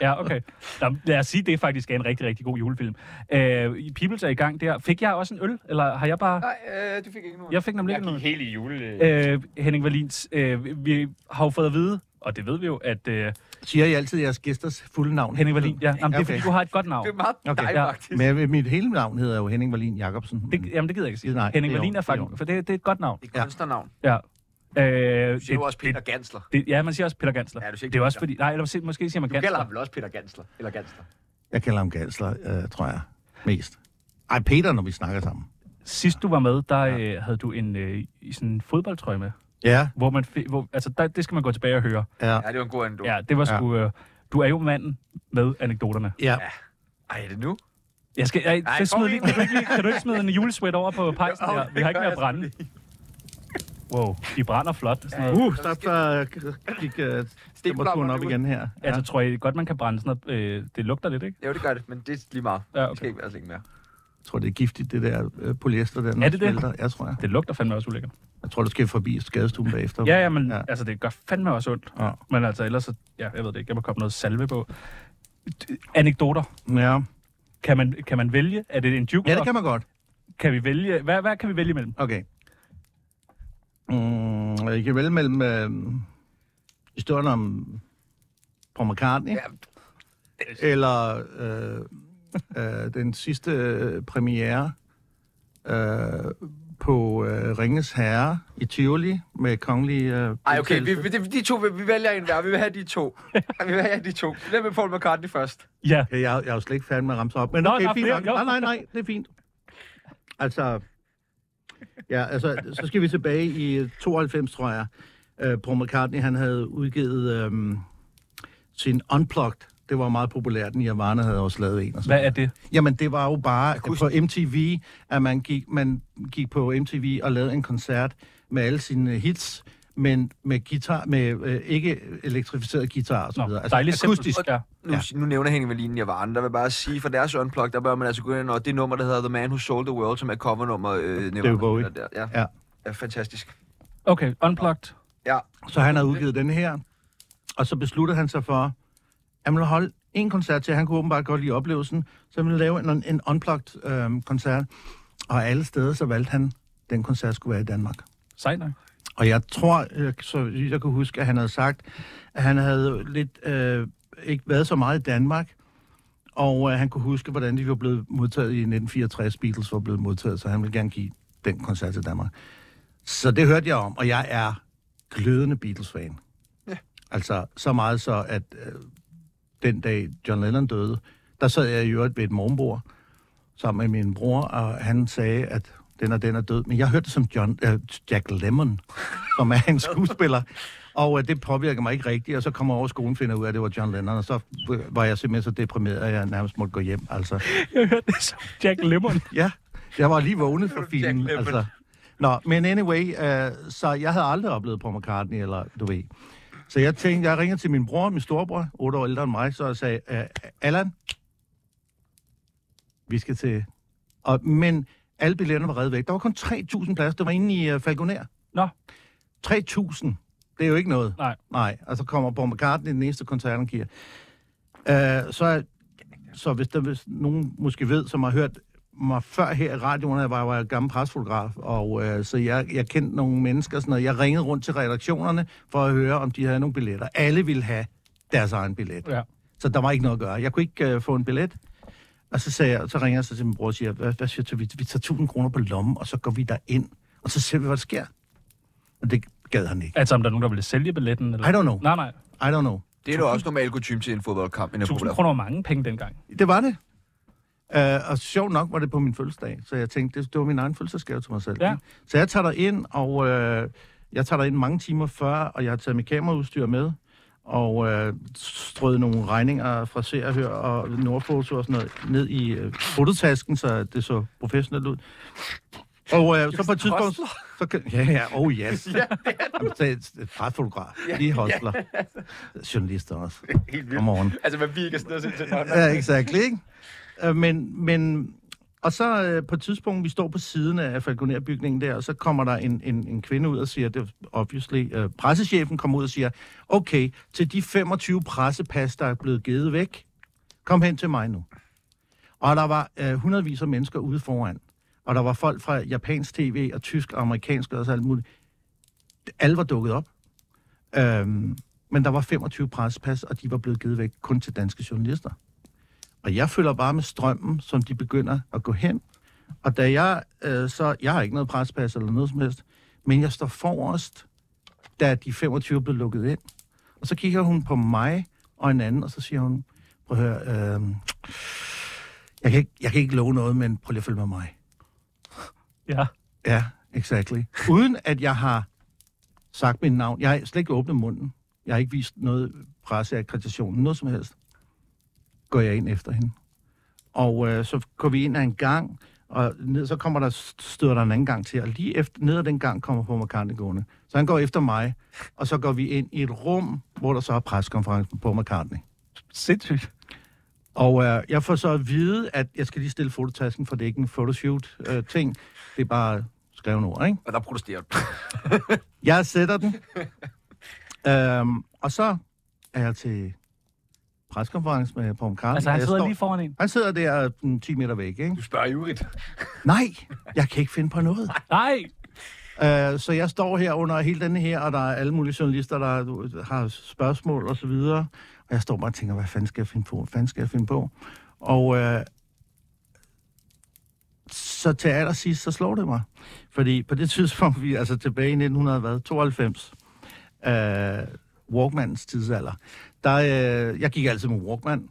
Speaker 6: Ja, okay. Nå, lad os sige, det faktisk er en rigtig, rigtig god julefilm. Øh, Peoples er i gang der. Fik jeg også en øl, eller har jeg bare...
Speaker 11: Nej, øh, du fik ikke nogen.
Speaker 6: Jeg fik nemlig
Speaker 11: jeg
Speaker 6: ikke
Speaker 11: gik
Speaker 6: noget.
Speaker 11: helt i jule...
Speaker 6: Øh, Henning Valins, øh, vi har jo fået at vide, og det ved vi jo, at øh,
Speaker 7: Siger I altid jeres gæsters fulde navn?
Speaker 6: Henning Wallin, ja, jamen, det er
Speaker 7: Okay.
Speaker 6: fordi, du har et godt navn.
Speaker 11: Det er meget
Speaker 7: Okay.
Speaker 11: dig,
Speaker 6: Ja.
Speaker 11: faktisk.
Speaker 7: Men jeg- mit hele navn hedder jo Henning Wallin Jacobsen.
Speaker 6: Det, jamen, det gider jeg ikke sige.
Speaker 7: Nej,
Speaker 6: Henning
Speaker 7: det er
Speaker 6: Wallin er
Speaker 7: ordentligt, det er
Speaker 6: faktisk, for det, det er et godt navn.
Speaker 2: Det er kunstnernavn.
Speaker 6: Ja. Øh,
Speaker 2: Du siger jo også Peter
Speaker 6: det,
Speaker 2: Gansler.
Speaker 6: det, ja, man siger også Peter Gansler.
Speaker 2: Ja, du siger ikke
Speaker 6: det er også
Speaker 2: Peter.
Speaker 6: fordi, nej, eller måske siger man
Speaker 2: Du kalder
Speaker 6: Gansler.
Speaker 2: ham vel også Peter Gansler. Eller Gansler.
Speaker 7: Jeg kalder ham Galsler, øh, tror jeg, mest. Ej, Peter, når vi snakker sammen.
Speaker 6: Sidst du var med, der øh, havde du en øh, i sådan en fodboldtrøje med,
Speaker 7: Ja,
Speaker 6: hvor man, fi- hvor, altså der, det skal man gå tilbage og høre.
Speaker 7: ja.
Speaker 2: Ja, det var en god anekdote.
Speaker 6: Ja, det var sgu... Øh, du er jo manden med anekdoterne.
Speaker 7: ja.
Speaker 2: Ej, er det nu?
Speaker 6: Jeg skal, jeg,
Speaker 2: Ej,
Speaker 6: Ej, smid
Speaker 2: kom
Speaker 6: lige,
Speaker 2: ind.
Speaker 6: kan, du ikke, lige- kan du ikke smide en julesweat over på pejsen
Speaker 2: Jo,
Speaker 6: her?
Speaker 2: det
Speaker 6: Vi har ikke
Speaker 2: gør
Speaker 6: mere at
Speaker 2: jeg
Speaker 6: brænde. Wow, de brænder flot. Sådan noget.
Speaker 7: Uh, så der gik øh, temperaturen op
Speaker 2: ud.
Speaker 7: igen her. Ja.
Speaker 6: Altså, tror jeg godt, man kan brænde sådan noget. Øh, det lugter lidt, ikke?
Speaker 2: Jo, det gør det, men det er lige meget.
Speaker 6: Ja,
Speaker 2: Det
Speaker 6: okay.
Speaker 2: skal altså ikke være så længe mere.
Speaker 7: Jeg tror, det er giftigt, det der øh, polyester der. når
Speaker 6: Er det det?
Speaker 7: smelter. Ja, tror jeg.
Speaker 6: Det lugter fandme også ulækkert.
Speaker 7: Jeg tror, du skal forbi skadestuen bagefter.
Speaker 6: Ja, ja, men
Speaker 7: Ja.
Speaker 6: ja. altså, det gør fandme også ondt.
Speaker 7: Ja.
Speaker 6: Men altså, ellers så... Ja, jeg ved det ikke. Jeg må komme noget salve på. D- Anekdoter.
Speaker 7: ja.
Speaker 6: Kan man, kan man vælge? Er det en jukebox?
Speaker 7: ja det kan man godt.
Speaker 6: kan vi vælge? Hvad, hvad kan vi vælge imellem?
Speaker 7: Okay. Mm, jeg kan vælge mellem øh, historien om Paul McCartney, ja. eller øh, øh, den sidste øh, premiere øh, på øh, Ringes Herre i Tivoli med kongelig... Øh,
Speaker 2: Ej, okay, vi, vi, de to, vi, vi vælger en hver. Vi vil have de to. Ej, vi vil have de to. Hvem med Paul McCartney først?
Speaker 6: Ja.
Speaker 7: Okay, jeg, jeg er jo slet ikke færdig med at ramse op. Men
Speaker 6: Nå,
Speaker 7: okay,
Speaker 6: der er
Speaker 7: fint
Speaker 6: flere,
Speaker 7: nok.
Speaker 6: jo.
Speaker 7: Nej, nej, nej, det er fint. Altså, ja, altså, så skal vi tilbage i 92, tror jeg. Øh, Paul McCartney, han havde udgivet øhm, sin Unplugged. Det var meget populært. Nirvana havde også lavet en. Og sådan
Speaker 6: Hvad er det?
Speaker 7: Jamen, det var jo bare på MTV, at man gik, man gik på MTV og lavede en koncert med alle sine hits, men med guitar, med øh, ikke elektrificeret guitar og så
Speaker 6: Nå,
Speaker 7: videre. Altså,
Speaker 6: dejligt akustisk. Ja.
Speaker 2: Nu, ja. nu nævner Henning Wallin Nirvana. Der vil jeg bare sige, for deres unplug, der bør man altså gå ind og det nummer, der hedder The Man Who Sold the World, som er covernummer øh, Nirvana.
Speaker 7: Bowie.
Speaker 2: spiller Der. Ja.
Speaker 7: Ja.
Speaker 2: ja. fantastisk.
Speaker 6: Okay, unplugged.
Speaker 2: Ja,
Speaker 7: Så han havde udgivet den her, og så besluttede han sig for, at man ville holde en koncert til, han kunne åbenbart godt lide oplevelsen, så han ville lave en, en unplugged øhm, koncert, og alle steder så valgte han, at den koncert skulle være i Danmark.
Speaker 6: Sejt nok.
Speaker 7: Og jeg tror, øh, så vidt jeg kan huske, at han havde sagt, at han havde lidt øh, ikke været så meget i Danmark, og øh, han kunne huske, hvordan de var blevet modtaget i 1964, Beatles var blevet modtaget, så han ville gerne give den koncert til Danmark. Så det hørte jeg om, og jeg er glødende Beatles-fan. Ja. Altså så meget så, at øh, den dag John Lennon døde, der sad jeg i øvrigt ved et morgenbord sammen med min bror, og han sagde, at den og den er død. Men jeg hørte det som John, øh, Jack Lemmon, som er en skuespiller. Og øh, det påvirker mig ikke rigtigt, og så kommer jeg over i skolen og finder ud af, at det var John Lennon, og så øh, var jeg simpelthen så deprimeret, at jeg nærmest måtte gå hjem. Altså,
Speaker 6: Jeg hørte det som Jack Lemmon.
Speaker 7: ja, jeg var lige vågnet for
Speaker 2: Jack
Speaker 7: filmen.
Speaker 2: Lemmon.
Speaker 7: Altså. Nå, men anyway, øh, så jeg havde aldrig oplevet Paul McCartney, eller du ved. Så jeg tænkte, jeg ringede til min bror, min storebror, otte år ældre end mig, så jeg sagde, øh, Allan, vi skal til... Og, men alle billetterne var reddet væk. Der var kun 3.000 pladser. Det var inde i uh, Falconer.
Speaker 6: Nå.
Speaker 7: 3.000. Det er jo ikke noget.
Speaker 6: Nej.
Speaker 7: Nej, og så kommer Paul McCartney, den næste koncert, han giver. Uh, så, så hvis der hvis nogen måske ved, som har hørt mig før her i radioen, jeg var, var jeg gammel presfotograf, og øh, så jeg, jeg kendte nogle mennesker og sådan noget. Jeg ringede rundt til redaktionerne for at høre, om de havde nogle billetter. Alle ville have deres egen billet.
Speaker 6: Ja.
Speaker 7: Så der var ikke noget at gøre. Jeg kunne ikke øh, få en billet. Og så, sagde jeg, så ringer jeg så til min bror og siger, hvad, hvad siger du, vi, vi tager 1000 kroner på lommen, og så går vi derind, og så ser vi, hvad der sker. Og det gad han ikke.
Speaker 6: Altså, om der er nogen, der ville sælge billetten? Eller?
Speaker 7: I don't know.
Speaker 6: Nej, nej.
Speaker 7: I don't know.
Speaker 2: det er jo også normal kutume til en fodboldkamp. En
Speaker 6: 1000
Speaker 2: populær.
Speaker 6: kroner var mange penge dengang.
Speaker 7: Det var det. Uh, og sjovt nok var det på min fødselsdag, så jeg tænkte, det, det var min egen fødselsdagsgave til mig selv.
Speaker 6: Ja.
Speaker 7: ikke? Så jeg tager ind og uh, jeg tager ind mange timer før, og jeg har taget mit kameraudstyr med, og uh, strøget nogle regninger fra Se og Hør og Nordfoto og sådan noget ned i uh, fototasken, så det så professionelt ud. Og uh, så på et tidspunkt... Så kan, ja, ja, oh yes. ja, det er et fotograf. Lige hostler. Journalister også. Helt vildt. Godmorgen.
Speaker 11: Altså, man virker sådan noget til
Speaker 7: Ja, exakt, ikke? Øh, men, men, og så øh, på et tidspunkt, vi står på siden af falconerbygningen der, og så kommer der en, en, en kvinde ud og siger, det er obviously, øh, pressechefen kommer ud og siger, okay, til de 25 pressepas, der er blevet givet væk, kom hen til mig nu. Og der var øh, hundredvis af mennesker ude foran. Og der var folk fra japansk tv og tysk og amerikansk og så alt muligt. Alle var dukket op. Øhm, men der var 25 pressepas, og de var blevet givet væk kun til danske journalister. Og jeg følger bare med strømmen, som de begynder at gå hen. Og da jeg øh, så... Jeg har ikke noget pressepas eller noget som helst, men jeg står forrest, da de 25 blev lukket ind. Og så kigger hun på mig og en anden, og så siger hun, prøv at høre, øh, jeg, kan ikke, jeg kan ikke love noget, men prøv lige at følge med mig.
Speaker 6: Ja.
Speaker 7: Ja, exactly. Uden at jeg har sagt mit navn. Jeg har slet ikke åbnet munden. Jeg har ikke vist noget presseakkreditation, noget som helst. Går jeg ind efter hende. Og øh, så går vi ind ad en gang, og ned, så kommer der, støder der en anden gang til, og lige efter, ned ad den gang kommer Paul McCartney gående. Så han går efter mig, og så går vi ind i et rum, hvor der så er preskonference på Paul McCartney.
Speaker 6: Sindssygt.
Speaker 7: Og øh, jeg får så at vide, at jeg skal lige stille fototasken, for det er ikke en photoshoot-ting. Øh, ting. det er bare skrevne ord, ikke?
Speaker 2: Og der protesterer du.
Speaker 7: Jeg sætter den. øhm, og så er jeg til preskonference med Paul McCartney.
Speaker 6: Altså, han
Speaker 7: og jeg
Speaker 6: sidder
Speaker 7: står-
Speaker 6: lige foran en.
Speaker 7: Han sidder der mm, 10 meter væk, ikke?
Speaker 2: Du spørger ivrigt.
Speaker 7: Nej, jeg kan ikke finde på noget.
Speaker 6: Nej!
Speaker 7: Øh, så jeg står her under hele denne her, og der er alle mulige journalister, der du, har spørgsmål og så videre. Og jeg står bare og tænker, hvad fanden skal jeg finde på? Hvad fanden skal jeg finde på? Og øh, så til allersidst, så slår det mig. Fordi på det tidspunkt, vi er altså tilbage i 1992, øh, Walkmans tidsalder, der, øh, jeg gik altid med Walkman.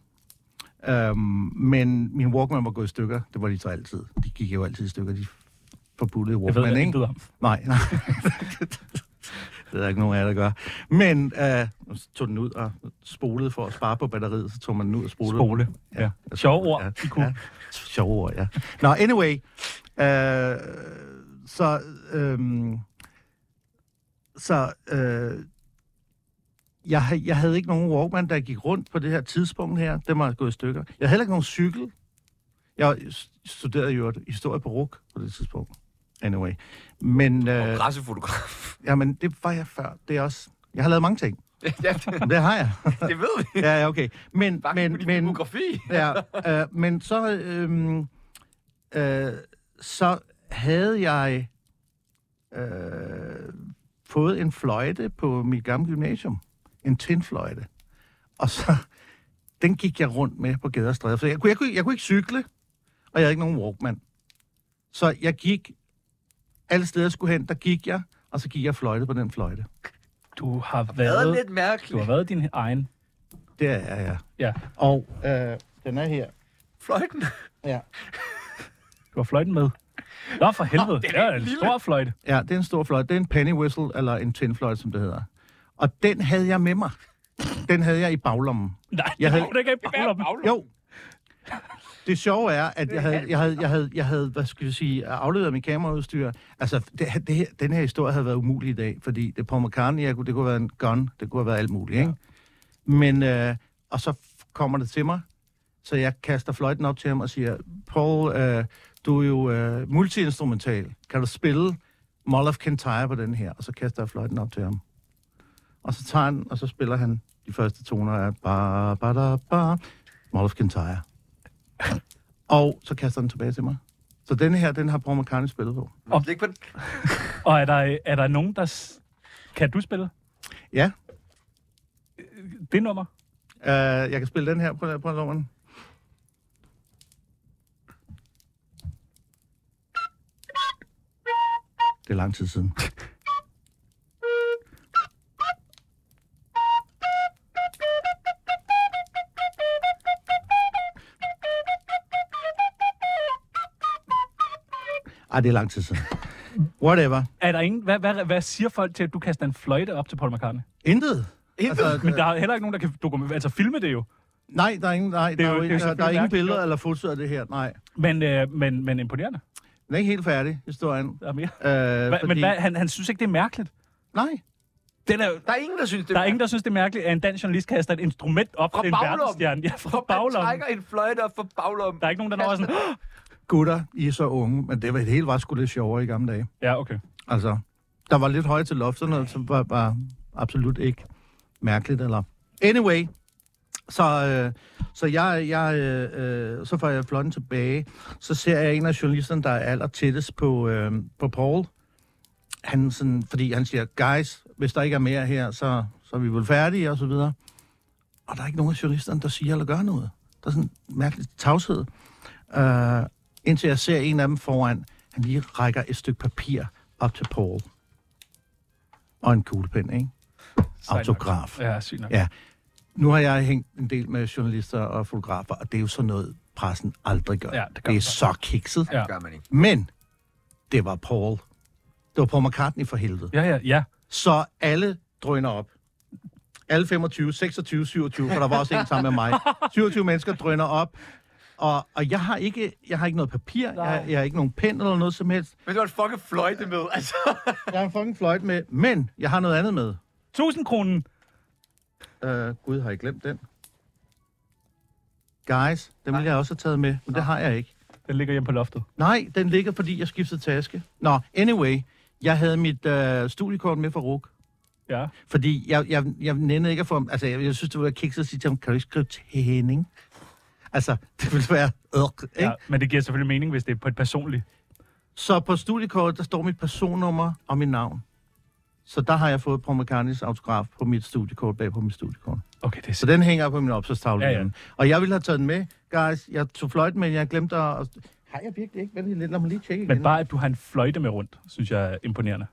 Speaker 7: Øhm, men min Walkman var gået i stykker. Det var de så altid. De gik jo altid i stykker, de forbuttede
Speaker 6: Jeg
Speaker 7: Walkman,
Speaker 6: ved, hvad
Speaker 7: ikke?
Speaker 6: intet om.
Speaker 7: Nej, nej. det er der ikke nogen af jer, der gør. Men øh, så tog den ud og spolede for at spare på batteriet, så tog man den ud og spolede.
Speaker 6: Spole. Ja. Sjove ord, de kunne.
Speaker 7: Ja. Sjove ord, ja. Nå, anyway. Øh, så øh, så øh, jeg, ha- jeg havde ikke nogen Walkman, der gik rundt på det her tidspunkt her. Det var gået i stykker. Jeg havde heller ikke nogen cykel. Jeg studerede jo historie på RUK på det tidspunkt. Anyway. Men,
Speaker 2: Og
Speaker 7: øh,
Speaker 2: pressefotograf.
Speaker 7: jamen, det var jeg før. Det er også... Jeg har lavet mange ting.
Speaker 2: ja, det,
Speaker 7: Det har jeg.
Speaker 2: det ved vi.
Speaker 7: ja, ja, okay. Men,
Speaker 2: Bare men,
Speaker 7: men,
Speaker 2: på din
Speaker 7: men,
Speaker 2: biografi.
Speaker 7: ja, øh, men så, øhm, øh, så havde jeg øh, fået en fløjte på mit gamle gymnasium. En tinfløjte. Og så, den gik jeg rundt med på gader og stræder. Så jeg, kunne, jeg, kunne, jeg kunne ikke cykle, og jeg havde ikke nogen walkman. Så jeg gik, alle steder jeg skulle hen, der gik jeg, og så gik jeg fløjte på den fløjte.
Speaker 6: Du har
Speaker 2: Det er
Speaker 6: været,
Speaker 2: lidt
Speaker 6: du har
Speaker 2: mærkeligt.
Speaker 6: været din egen.
Speaker 7: Det er jeg.
Speaker 6: Ja.
Speaker 7: Og øh, den er her.
Speaker 2: Fløjten.
Speaker 7: Ja.
Speaker 6: Du har fløjten med. Nå, for helvede. Det er en
Speaker 2: lille.
Speaker 6: stor fløjte.
Speaker 7: Ja, det er en stor fløjte. Det er en penny whistle, eller en tinfløjte, som det hedder. Og den havde jeg med mig. Den havde jeg i baglommen.
Speaker 6: Nej,
Speaker 7: Jeg
Speaker 6: jeg
Speaker 7: havde-
Speaker 6: havde... det ikke af
Speaker 7: Jo. Det sjove er, at jeg havde, jeg havde, jeg havde, jeg havde hvad skal vi sige, afleveret mit kameraudstyr. Altså, det, her- det, her- den her historie havde været umulig i dag, fordi det er Paul McCartney, jeg kunne, det kunne have været en gun, det kunne have været alt muligt, ikke? Men, øh, og så f- kommer det til mig, så jeg kaster fløjten op til ham og siger, Paul, øh, du er jo øh, multiinstrumental. Kan du spille Mull of Kintyre på den her? Og så kaster jeg fløjten op til ham. Og så tager han, og så spiller han de første toner af ba, ba, da, ba, Mull of Kintyre. og så kaster han tilbage til mig. Så denne her, den har Paul McCartney spillet på.
Speaker 2: Må jeg slikke på den?
Speaker 6: Og er der, er der nogen, der... s- Kan du spille
Speaker 7: Ja,
Speaker 6: det nummer?
Speaker 7: øh, jeg kan spille den her på, på nummeren. Det er lang tid siden. Ej, det er lang tid siden. Whatever.
Speaker 6: Er der ingen, hvad, hvad, hvad siger folk til, at du kaster en fløjte op til Paul McCartney?
Speaker 7: Intet. Altså,
Speaker 6: Men der er heller ikke nogen, der kan dokumentere, altså filme det jo.
Speaker 7: Nej, der er ingen, nej, der,
Speaker 6: er
Speaker 7: er
Speaker 6: jo-
Speaker 7: jo,
Speaker 6: det
Speaker 7: der, der er
Speaker 6: er jo selvfølgelig
Speaker 7: ingen
Speaker 6: mærkeligt,
Speaker 7: billeder
Speaker 6: jo.
Speaker 7: eller fotos af det her. Nej,
Speaker 6: Men, øh, men, men imponerende.
Speaker 7: den er ikke helt færdig, historien.
Speaker 6: Der er mere.
Speaker 7: Øh,
Speaker 6: Hva, Men hvad, han, han synes ikke, det er mærkeligt.
Speaker 7: Nej,
Speaker 6: Den er,
Speaker 2: Der er ingen, der synes, det
Speaker 6: der er ingen, der synes, det er mærkeligt, at en dansk journalist kaster et instrument op
Speaker 2: Fra
Speaker 6: til en
Speaker 2: baglommen.
Speaker 6: verdensstjerne. Ja, fra
Speaker 2: Han
Speaker 6: baglommen.
Speaker 2: trækker en fløjte op for baglommen.
Speaker 6: Der er ikke nogen, der når sådan...
Speaker 7: Gutter, I er så unge, men det var, det hele var sgu lidt sjovere i gamle dage.
Speaker 6: Ja, okay.
Speaker 7: Altså, der var lidt højt til lofterne, som var, var absolut ikke mærkeligt. Eller... Anyway, så, øh, så, jeg, jeg, øh, øh, så får jeg flotten tilbage. Så ser jeg en af journalisterne, der er aller tættest på, øh, på Paul. Han sådan, fordi han siger, guys, hvis der ikke er mere her, så, så er vi vel færdige, og så videre. Og der er ikke nogen af journalisterne, der siger eller gør noget. Der er sådan en mærkelig tavshed. Øh, indtil jeg ser en af dem foran, han lige rækker et stykke papir op til Paul. Og en kuglepen, ikke?
Speaker 6: nok.
Speaker 7: Autograf.
Speaker 6: Ja, sygt nok.
Speaker 7: Ja. Nu har jeg hængt en del med journalister og fotografer, og det er jo sådan noget, pressen aldrig gør.
Speaker 6: Ja, det
Speaker 7: det
Speaker 6: gør
Speaker 7: er
Speaker 6: man
Speaker 7: så kikset.
Speaker 6: Ja.
Speaker 2: Det gør man ikke.
Speaker 7: Men det var Paul. Det var Paul McCartney for helvede.
Speaker 6: Ja, ja, ja.
Speaker 7: Så alle drøner op. Alle 25, 26, 27, for der var også en sammen med mig. 27 mennesker drøner op. Og, og jeg, har ikke, jeg har ikke noget papir, jeg, jeg har ikke nogen pen eller noget som helst.
Speaker 2: Men det var en fucking fløjte med, altså.
Speaker 7: Jeg har en fucking fløjt med, men jeg har noget andet med.
Speaker 6: 1000 kronen.
Speaker 7: Øh, Gud, har jeg glemt den? Guys, den ville jeg også have taget med, men det har jeg ikke.
Speaker 6: Den ligger hjemme på loftet.
Speaker 7: Nej, den ligger, fordi jeg skiftede taske. Nå, anyway, jeg havde mit øh, studiekort med fra RUK.
Speaker 6: Ja.
Speaker 7: Fordi jeg, jeg, jeg nændede ikke at få... Altså, jeg, jeg synes, det var kikset at sige til ham, kan du ikke skrive tæning? Altså, det ville være... Øh, ikke?
Speaker 6: ja. Men det giver selvfølgelig mening, hvis det er på et personligt.
Speaker 7: Så på studiekortet, der står mit personnummer og mit navn. Så der har jeg fået Paul McCartney's autograf på mit studiekort, bag på mit studiekort.
Speaker 6: Okay, det er
Speaker 7: Så den hænger på min opslagstavle.
Speaker 6: Ja,
Speaker 7: Ja,
Speaker 6: ja.
Speaker 7: ja. Og jeg ville have taget den med, guys. Jeg tog fløjten, men jeg glemte at... Har jeg virkelig ikke? Vent lige lidt, lad mig lige tjekke igen.
Speaker 6: Men bare, at du har en fløjte med rundt, synes jeg er imponerende.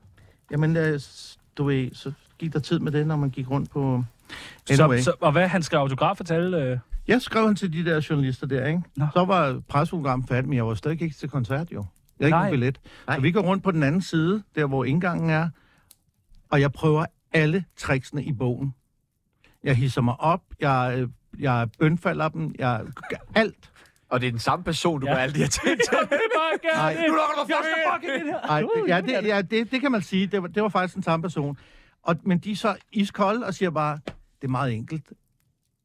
Speaker 7: Jamen, øh, s- du ved, så gik der tid med det, når man gik rundt på... Anyway.
Speaker 6: Så, så, og hvad, han skrev autografer til alle? Øh...
Speaker 7: Jeg skrev han til de der journalister der, ikke?
Speaker 6: Nå.
Speaker 7: Så var presseprogrammet færdigt, men jeg var stadig ikke til koncert, jo. Jeg havde ikke
Speaker 6: Nej.
Speaker 7: nogen billet. Så vi går rundt på den anden side, der hvor indgangen er, og jeg prøver alle tricksene i bogen. Jeg hisser mig op, jeg, øh, jeg bønfalder dem, jeg gør alt.
Speaker 2: Og det er den samme person, du
Speaker 6: Ja.
Speaker 2: gør alle de her ting til.
Speaker 6: Nej,
Speaker 2: Du lukker mig først og fucking ind her.
Speaker 7: Ej, det, ja, det, ja det, det kan man sige, det var, det var faktisk den samme person. Og, men de er så iskolde og siger bare, det er meget enkelt.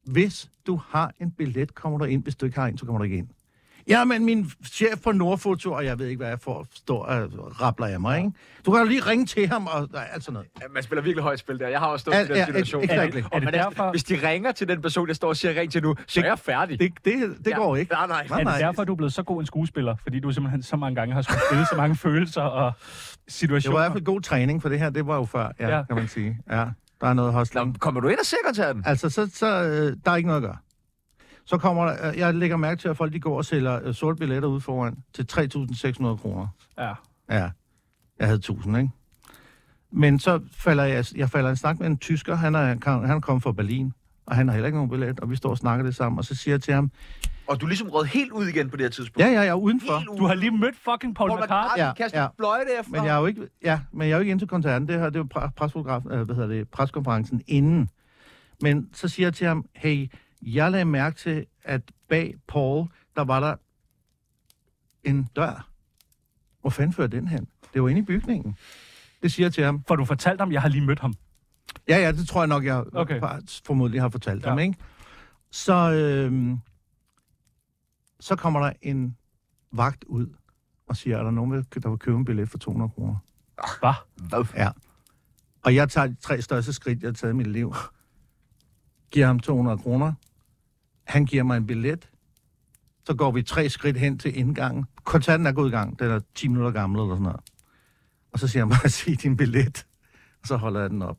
Speaker 7: Hvis du har en billet, kommer du ind. Hvis du ikke har en, så kommer du ikke ind. Ja, men min chef på Nordfoto, og jeg ved ikke, hvad jeg får, står og rappler af mig, ikke? Du kan jo lige ringe til ham og og alt sådan noget.
Speaker 2: Ja, Man spiller virkelig højt spil der. Jeg har også stået
Speaker 7: Ja,
Speaker 2: i den
Speaker 7: ja,
Speaker 2: situation.
Speaker 7: ex- exactly.
Speaker 2: Og
Speaker 6: Er det
Speaker 2: man er sådan,
Speaker 6: derfor-
Speaker 2: Hvis de ringer til den person, jeg står og siger ring til nu, så er jeg færdig.
Speaker 7: Det, det, det
Speaker 2: Ja.
Speaker 7: går ikke.
Speaker 2: Nej, nej.
Speaker 6: Er
Speaker 7: nej.
Speaker 6: det derfor, du er blevet så god en skuespiller? Fordi du simpelthen så mange gange har skulle spille så mange følelser og
Speaker 7: Det var i
Speaker 6: situationer.
Speaker 7: hvert fald god træning, for det her, det var jo før, ja,
Speaker 6: Ja.
Speaker 7: ja. kan man sige. Ja, der er noget
Speaker 2: Nå,
Speaker 7: hostling.
Speaker 2: kommer du ind og ser koncerten?
Speaker 7: Altså, så, så øh, der er ikke noget at gøre. Så kommer der, øh, jeg lægger mærke til, at folk de går og sælger øh, sorte billetter ude foran til 3.600 kroner.
Speaker 6: Ja.
Speaker 7: Ja, jeg havde 1.000, ikke? Men så falder jeg, jeg falder i en snak med en tysker, han er, han er kommet fra Berlin, og han har heller ikke nogen billet, og vi står og snakker det sammen, og så siger jeg til ham,
Speaker 2: Og du er ligesom rød helt ud igen på det her tidspunkt.
Speaker 7: ja, ja, jeg er udenfor,
Speaker 2: Helt ude.
Speaker 6: Du har lige mødt fucking Paul
Speaker 2: Paul
Speaker 6: McCartney.
Speaker 2: McCartney
Speaker 7: Ja,
Speaker 2: kaster
Speaker 7: ja.
Speaker 2: en fløjte efter.
Speaker 7: men jeg er jo ikke, ja, men jeg er jo ikke inde til koncerten, det her, det er jo pre- presfotograf, øh, hvad hedder det, preskonferencen inden. Men så siger jeg til ham, hey, jeg lagde mærke til, at bag Paul, der var der en dør. Hvor fanden fører den hen? Det var inde i bygningen. Det siger jeg til ham.
Speaker 6: For du fortalte ham, jeg har lige mødt ham.
Speaker 7: Ja, ja, det tror jeg nok, jeg
Speaker 6: Okay.
Speaker 7: okay. formodentlig har fortalt
Speaker 6: Ja.
Speaker 7: ja. ham, ikke? Så, øhm, så kommer der en vagt ud og siger, er der nogen, der vil købe en billet for 200 kroner?
Speaker 6: Hva?
Speaker 7: Ja. Og jeg tager de tre største skridt, jeg har taget i mit liv. Giver ham 200 kroner. Han giver mig en billet. Så går vi tre skridt hen til indgangen. Koncerten er gået i gang. Den er 10 minutter gammel eller sådan noget. Og så siger han bare, sig din billet. Og så holder jeg den op.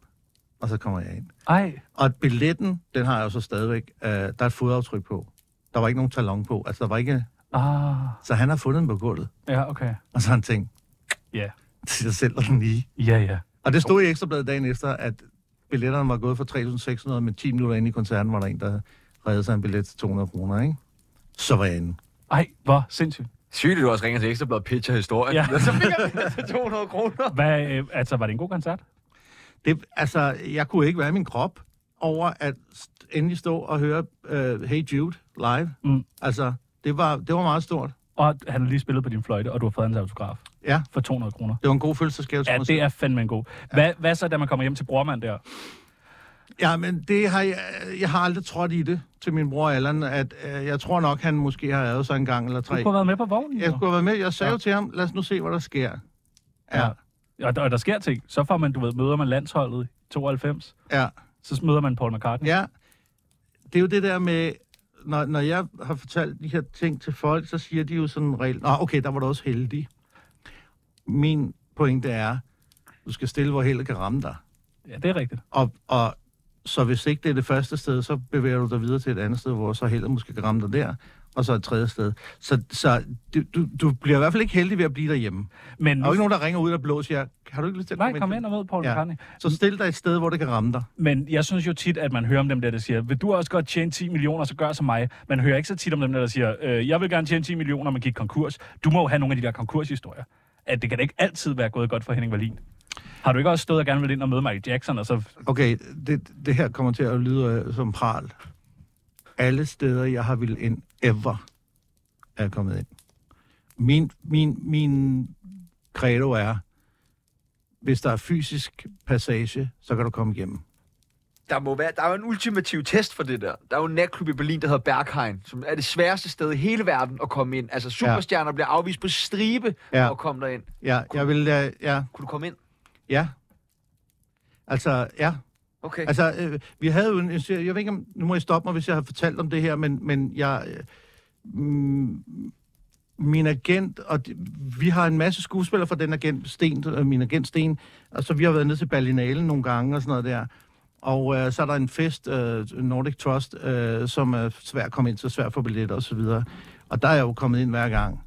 Speaker 7: Og så kommer jeg ind.
Speaker 6: Ej,
Speaker 7: Og billetten, den har jeg jo så stadigvæk. Øh, der er et fodaftryk på. Der var ikke nogen talon på. Altså, der var ikke...
Speaker 6: ah,
Speaker 7: Så han har fundet den på gulvet.
Speaker 6: ja, okay.
Speaker 7: Og så har han tænkt,
Speaker 6: Ja,
Speaker 7: jeg sælger den lige.
Speaker 6: ja, ja.
Speaker 7: Og det stod i Ekstrabladet dagen efter, at billetterne var gået for 3.600, men 10 minutter inde i koncerten var der en, der reddede sig en billet til 200 kroner, ikke? Så var jeg inde.
Speaker 6: Ej, hvor sindssygt.
Speaker 2: Sygt, at du også ringer til Ekstrabladet pitcher historien.
Speaker 6: Ja.
Speaker 2: Så fik jeg til 200 kroner.
Speaker 6: Hvad, øh, altså, var det en god koncert?
Speaker 7: Det, altså, jeg kunne ikke være i min krop over at st- endelig stå og høre øh, Hey Jude live.
Speaker 6: Mm.
Speaker 7: Altså, det var, det var meget stort.
Speaker 6: Og han har lige spillet på din fløjte, og du har fået hans autograf.
Speaker 7: Ja.
Speaker 6: for 200 kroner.
Speaker 7: Det var en god fødselsdagsgave til
Speaker 6: Ja,
Speaker 7: mig selv.
Speaker 6: det er fandme en god. Hvad, hvad så, da man kommer hjem til brormand der?
Speaker 7: Ja, men det har jeg, jeg har aldrig trådt i det til min bror Allan, at øh, jeg tror nok, han måske har æret sig en gang eller
Speaker 6: Du
Speaker 7: tre.
Speaker 6: kunne have været med på vognen.
Speaker 7: Jeg
Speaker 6: jo.
Speaker 7: skulle have været med. Jeg sagde
Speaker 6: Ja.
Speaker 7: jo til ham, lad os nu se, hvad der sker. Ja,
Speaker 6: Ja. Og, der- og der sker ting. Så får man, du ved, møder man landsholdet i 92.
Speaker 7: ja,
Speaker 6: Så møder man Paul McCartney.
Speaker 7: ja. Det er jo det der med, når, når jeg har fortalt de her ting til folk, så siger de jo sådan en regel, Nå, okay, der var du også heldig. Min pointe er, du skal stille, hvor heldet kan ramme dig.
Speaker 6: Ja, det er rigtigt.
Speaker 7: Og, og så hvis ikke det er det første sted, så bevæger du dig videre til et andet sted, hvor så heldet måske kan ramme dig der, og så et tredje sted. Så, så du, du, du bliver i hvert fald ikke heldig ved at blive derhjemme.
Speaker 6: Men
Speaker 7: Der er jo ikke nogen, der ringer ud og blå og siger, har du ikke lyst til at
Speaker 6: Nej, kom ind og mød Paul
Speaker 7: Ja.
Speaker 6: McCartney.
Speaker 7: Så stil dig et sted, hvor det kan ramme dig.
Speaker 6: Men jeg synes jo tit, at man hører om dem der, der siger, vil du også godt tjene 10 millioner, så gør som mig. Man hører ikke så tit om dem der, der siger, øh, jeg vil gerne tjene 10 millioner, men gik konkurs. Du må jo have nogle af de der konkurshistorier. At det kan da ikke altid være gået godt for Henning Wallin. Har du ikke også stået og gerne vil ind og møde Michael Jackson, og så...
Speaker 7: Okay, det, det her kommer til at lyde øh, som pral. Alle steder, jeg har ville ind, ever, er jeg kommet ind. Min, min, min credo er, hvis der er fysisk passage, så kan du komme igennem.
Speaker 2: Der må være, der er jo en ultimativ test for det der. Der er jo en natklub i Berlin, der hedder Berghain, som er det sværeste sted i hele verden at komme ind. Altså, superstjerner ja. bliver afvist på stribe
Speaker 7: Ja.
Speaker 2: ja. at komme derind.
Speaker 7: Ja, jeg vil, øh, ja,
Speaker 2: Kunne du komme ind?
Speaker 7: ja. Altså, ja.
Speaker 2: Okay. Altså,
Speaker 7: Altså, øh, vi havde jo en, en serie- jeg ved ikke om, nu må I stoppe mig, hvis jeg har fortalt om det her, men, men jeg, øh, mm, min agent, og de, vi har en masse skuespillere fra den agent, Sten, øh, min agent Sten, og så vi har været nede til Berlinalen nogle gange og sådan noget der, og øh, så er der en fest, øh, Nordic Trust, øh, som er svær at komme ind til, svær at få billetter og så videre. Og der er jeg jo kommet ind hver gang.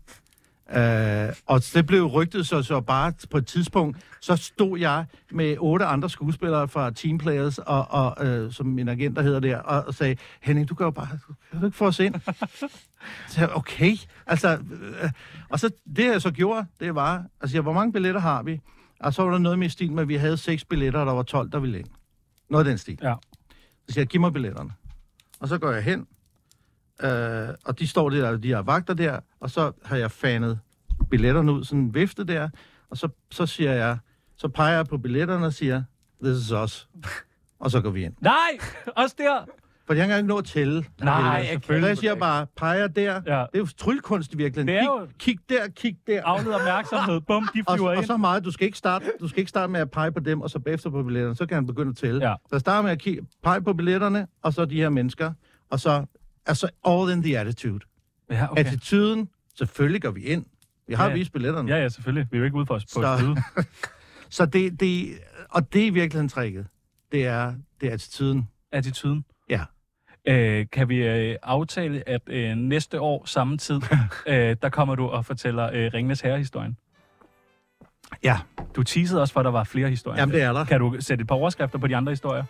Speaker 7: Øh, og det blev rygtet så, så bare på et tidspunkt, så stod jeg med otte andre skuespillere fra Team Players, og, og, øh, som min agent der hedder der, og, og sagde, Henning, du kan jo bare, kan du ikke få os ind? Så jeg, okay, altså, øh, og så det jeg så gjorde, det var, altså, jeg, hvor mange billetter har vi? Og så var der noget med i stil med, at vi havde seks billetter, og der var 12, der ville ind. Noget af den stil.
Speaker 6: Ja.
Speaker 7: Så siger jeg, giv mig billetterne. Og så går jeg hen, øh, og de står der, de her vagter der, og så har jeg fanet billetterne ud, sådan en vifte der, og så, så siger jeg, så peger jeg på billetterne og siger, this is us. og så går vi ind.
Speaker 6: Nej! Også der!
Speaker 7: For jeg kan ikke nå at tælle.
Speaker 6: Nej,
Speaker 7: jeg
Speaker 6: selvfølgelig.
Speaker 7: Jeg siger bare, peger der. Ja. Det
Speaker 6: Ja.
Speaker 7: er jo tryllekunst i
Speaker 6: Det
Speaker 7: virkeligheden.
Speaker 6: er jo-
Speaker 7: Kig, kig der, kig der.
Speaker 6: Afled opmærksomhed. Bum, de
Speaker 7: Og,
Speaker 6: flyver
Speaker 7: og
Speaker 6: ind.
Speaker 7: så meget, du skal, ikke starte, du skal ikke starte med at pege på dem, og så bagefter på billetterne. Så kan han begynde at tælle.
Speaker 6: Ja.
Speaker 7: Så jeg starter med at kigge, pege på billetterne, og så de her mennesker. Og så, altså, all in the attitude.
Speaker 6: Ja,
Speaker 7: Okay.
Speaker 6: okay.
Speaker 7: Attituden, selvfølgelig går vi ind. Vi har
Speaker 6: Ja.
Speaker 7: ja. vist billetterne.
Speaker 6: ja, ja, selvfølgelig. Vi er jo ikke ude for os på
Speaker 7: Så-
Speaker 6: et side.
Speaker 7: Så det, det, og det er i virkeligheden tricket. Det er, det er attituden.
Speaker 6: Attituden.
Speaker 7: Ja.
Speaker 6: Øh, kan vi øh, aftale, at øh, næste år samme tid, øh, der kommer du og fortæller øh, Ringnes Herre-historien?
Speaker 7: Ja.
Speaker 6: Du teasede også for, at der var flere historier.
Speaker 7: Jamen, det er der.
Speaker 6: Kan du sætte et par overskrifter på de andre historier?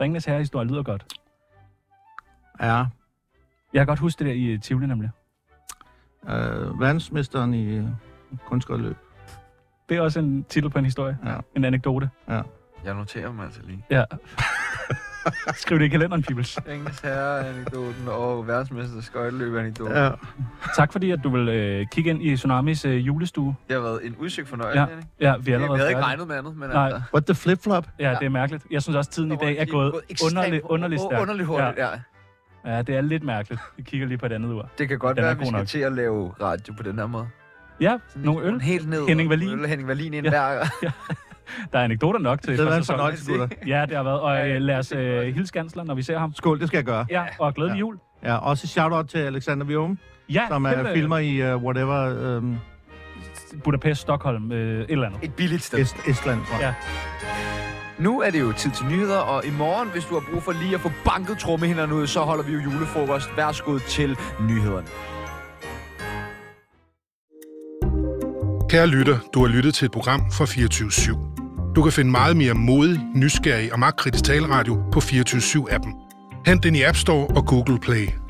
Speaker 6: Ringnes Herre-historie lyder godt.
Speaker 7: Ja.
Speaker 6: Jeg kan godt huske det der i øh, Tivoli nemlig.
Speaker 7: Øh, verdensmesteren i øh, kunstskøjteløb.
Speaker 6: Det er også en titel på en historie.
Speaker 7: Ja.
Speaker 6: En anekdote.
Speaker 5: Jeg noterer mig altså lige.
Speaker 6: Ja. Skriv det i kalenderen, peoples.
Speaker 5: Ringens herre-anekdoten og verdensmester skøjteløb-anekdoten.
Speaker 7: Ja.
Speaker 6: Tak fordi, at du vil øh, kigge ind i Tsunamis øh, julestue.
Speaker 5: Det har været en udsøgt fornøjelse,
Speaker 6: Ja,
Speaker 5: Henning.
Speaker 6: ja vi er allerede
Speaker 5: Vi havde ikke
Speaker 6: færdige.
Speaker 5: regnet med andet, men
Speaker 6: Nej.
Speaker 5: altså...
Speaker 7: What the flip-flop?
Speaker 6: Ja, det er mærkeligt. Jeg synes også, at tiden i dag er gået underligt, underligt stærkt.
Speaker 5: Underligt hurtigt, ja. ja.
Speaker 6: Ja. ja, det er lidt mærkeligt. Vi kigger lige på et andet ur.
Speaker 5: Det kan godt
Speaker 6: Den er
Speaker 5: være, at vi
Speaker 6: god
Speaker 5: skal
Speaker 6: nok.
Speaker 5: til at lave radio på den her måde.
Speaker 6: Ja,
Speaker 5: Sådan
Speaker 6: nogle
Speaker 5: lidt
Speaker 6: øl.
Speaker 5: Helt ned.
Speaker 6: Henning
Speaker 5: og
Speaker 6: Wallin.
Speaker 5: Øl, Henning Valin ind
Speaker 6: Ja.
Speaker 5: ja. hver.
Speaker 6: Der er anekdoter nok til
Speaker 7: Det har
Speaker 6: for
Speaker 7: været en
Speaker 6: sæsonen.
Speaker 7: fornøjelse, gutter.
Speaker 6: Ja, det har været. Og
Speaker 5: Ja,
Speaker 6: øh,
Speaker 5: ja,
Speaker 6: lad
Speaker 5: det
Speaker 6: os
Speaker 5: tænker jeg
Speaker 6: øh,
Speaker 5: også.
Speaker 6: hilse Gansler, når vi ser ham.
Speaker 7: Skål, det skal jeg gøre.
Speaker 6: Ja, og glædelig
Speaker 7: Ja.
Speaker 6: jul.
Speaker 7: Ja, også shout-out til Alexander Vium,
Speaker 6: Ja,
Speaker 7: som
Speaker 6: kæmpe-
Speaker 7: er filmer i uh, whatever um,
Speaker 6: Budapest, Stockholm, øh, et eller andet.
Speaker 2: et billigt sted.
Speaker 7: Est- Estland, tror jeg.
Speaker 6: Ja.
Speaker 2: Nu er det jo tid til nyheder, og i morgen, hvis du har brug for lige at få banket trommehinderne ud, så holder vi jo julefrokost. Værsgod til nyhederne.
Speaker 11: Kære lytter, du har lyttet til et program fra 24 /7. Du kan finde meget mere modig, nysgerrig og magtkritisk taleradio på 24 7 appen Hent den i App Store og Google Play.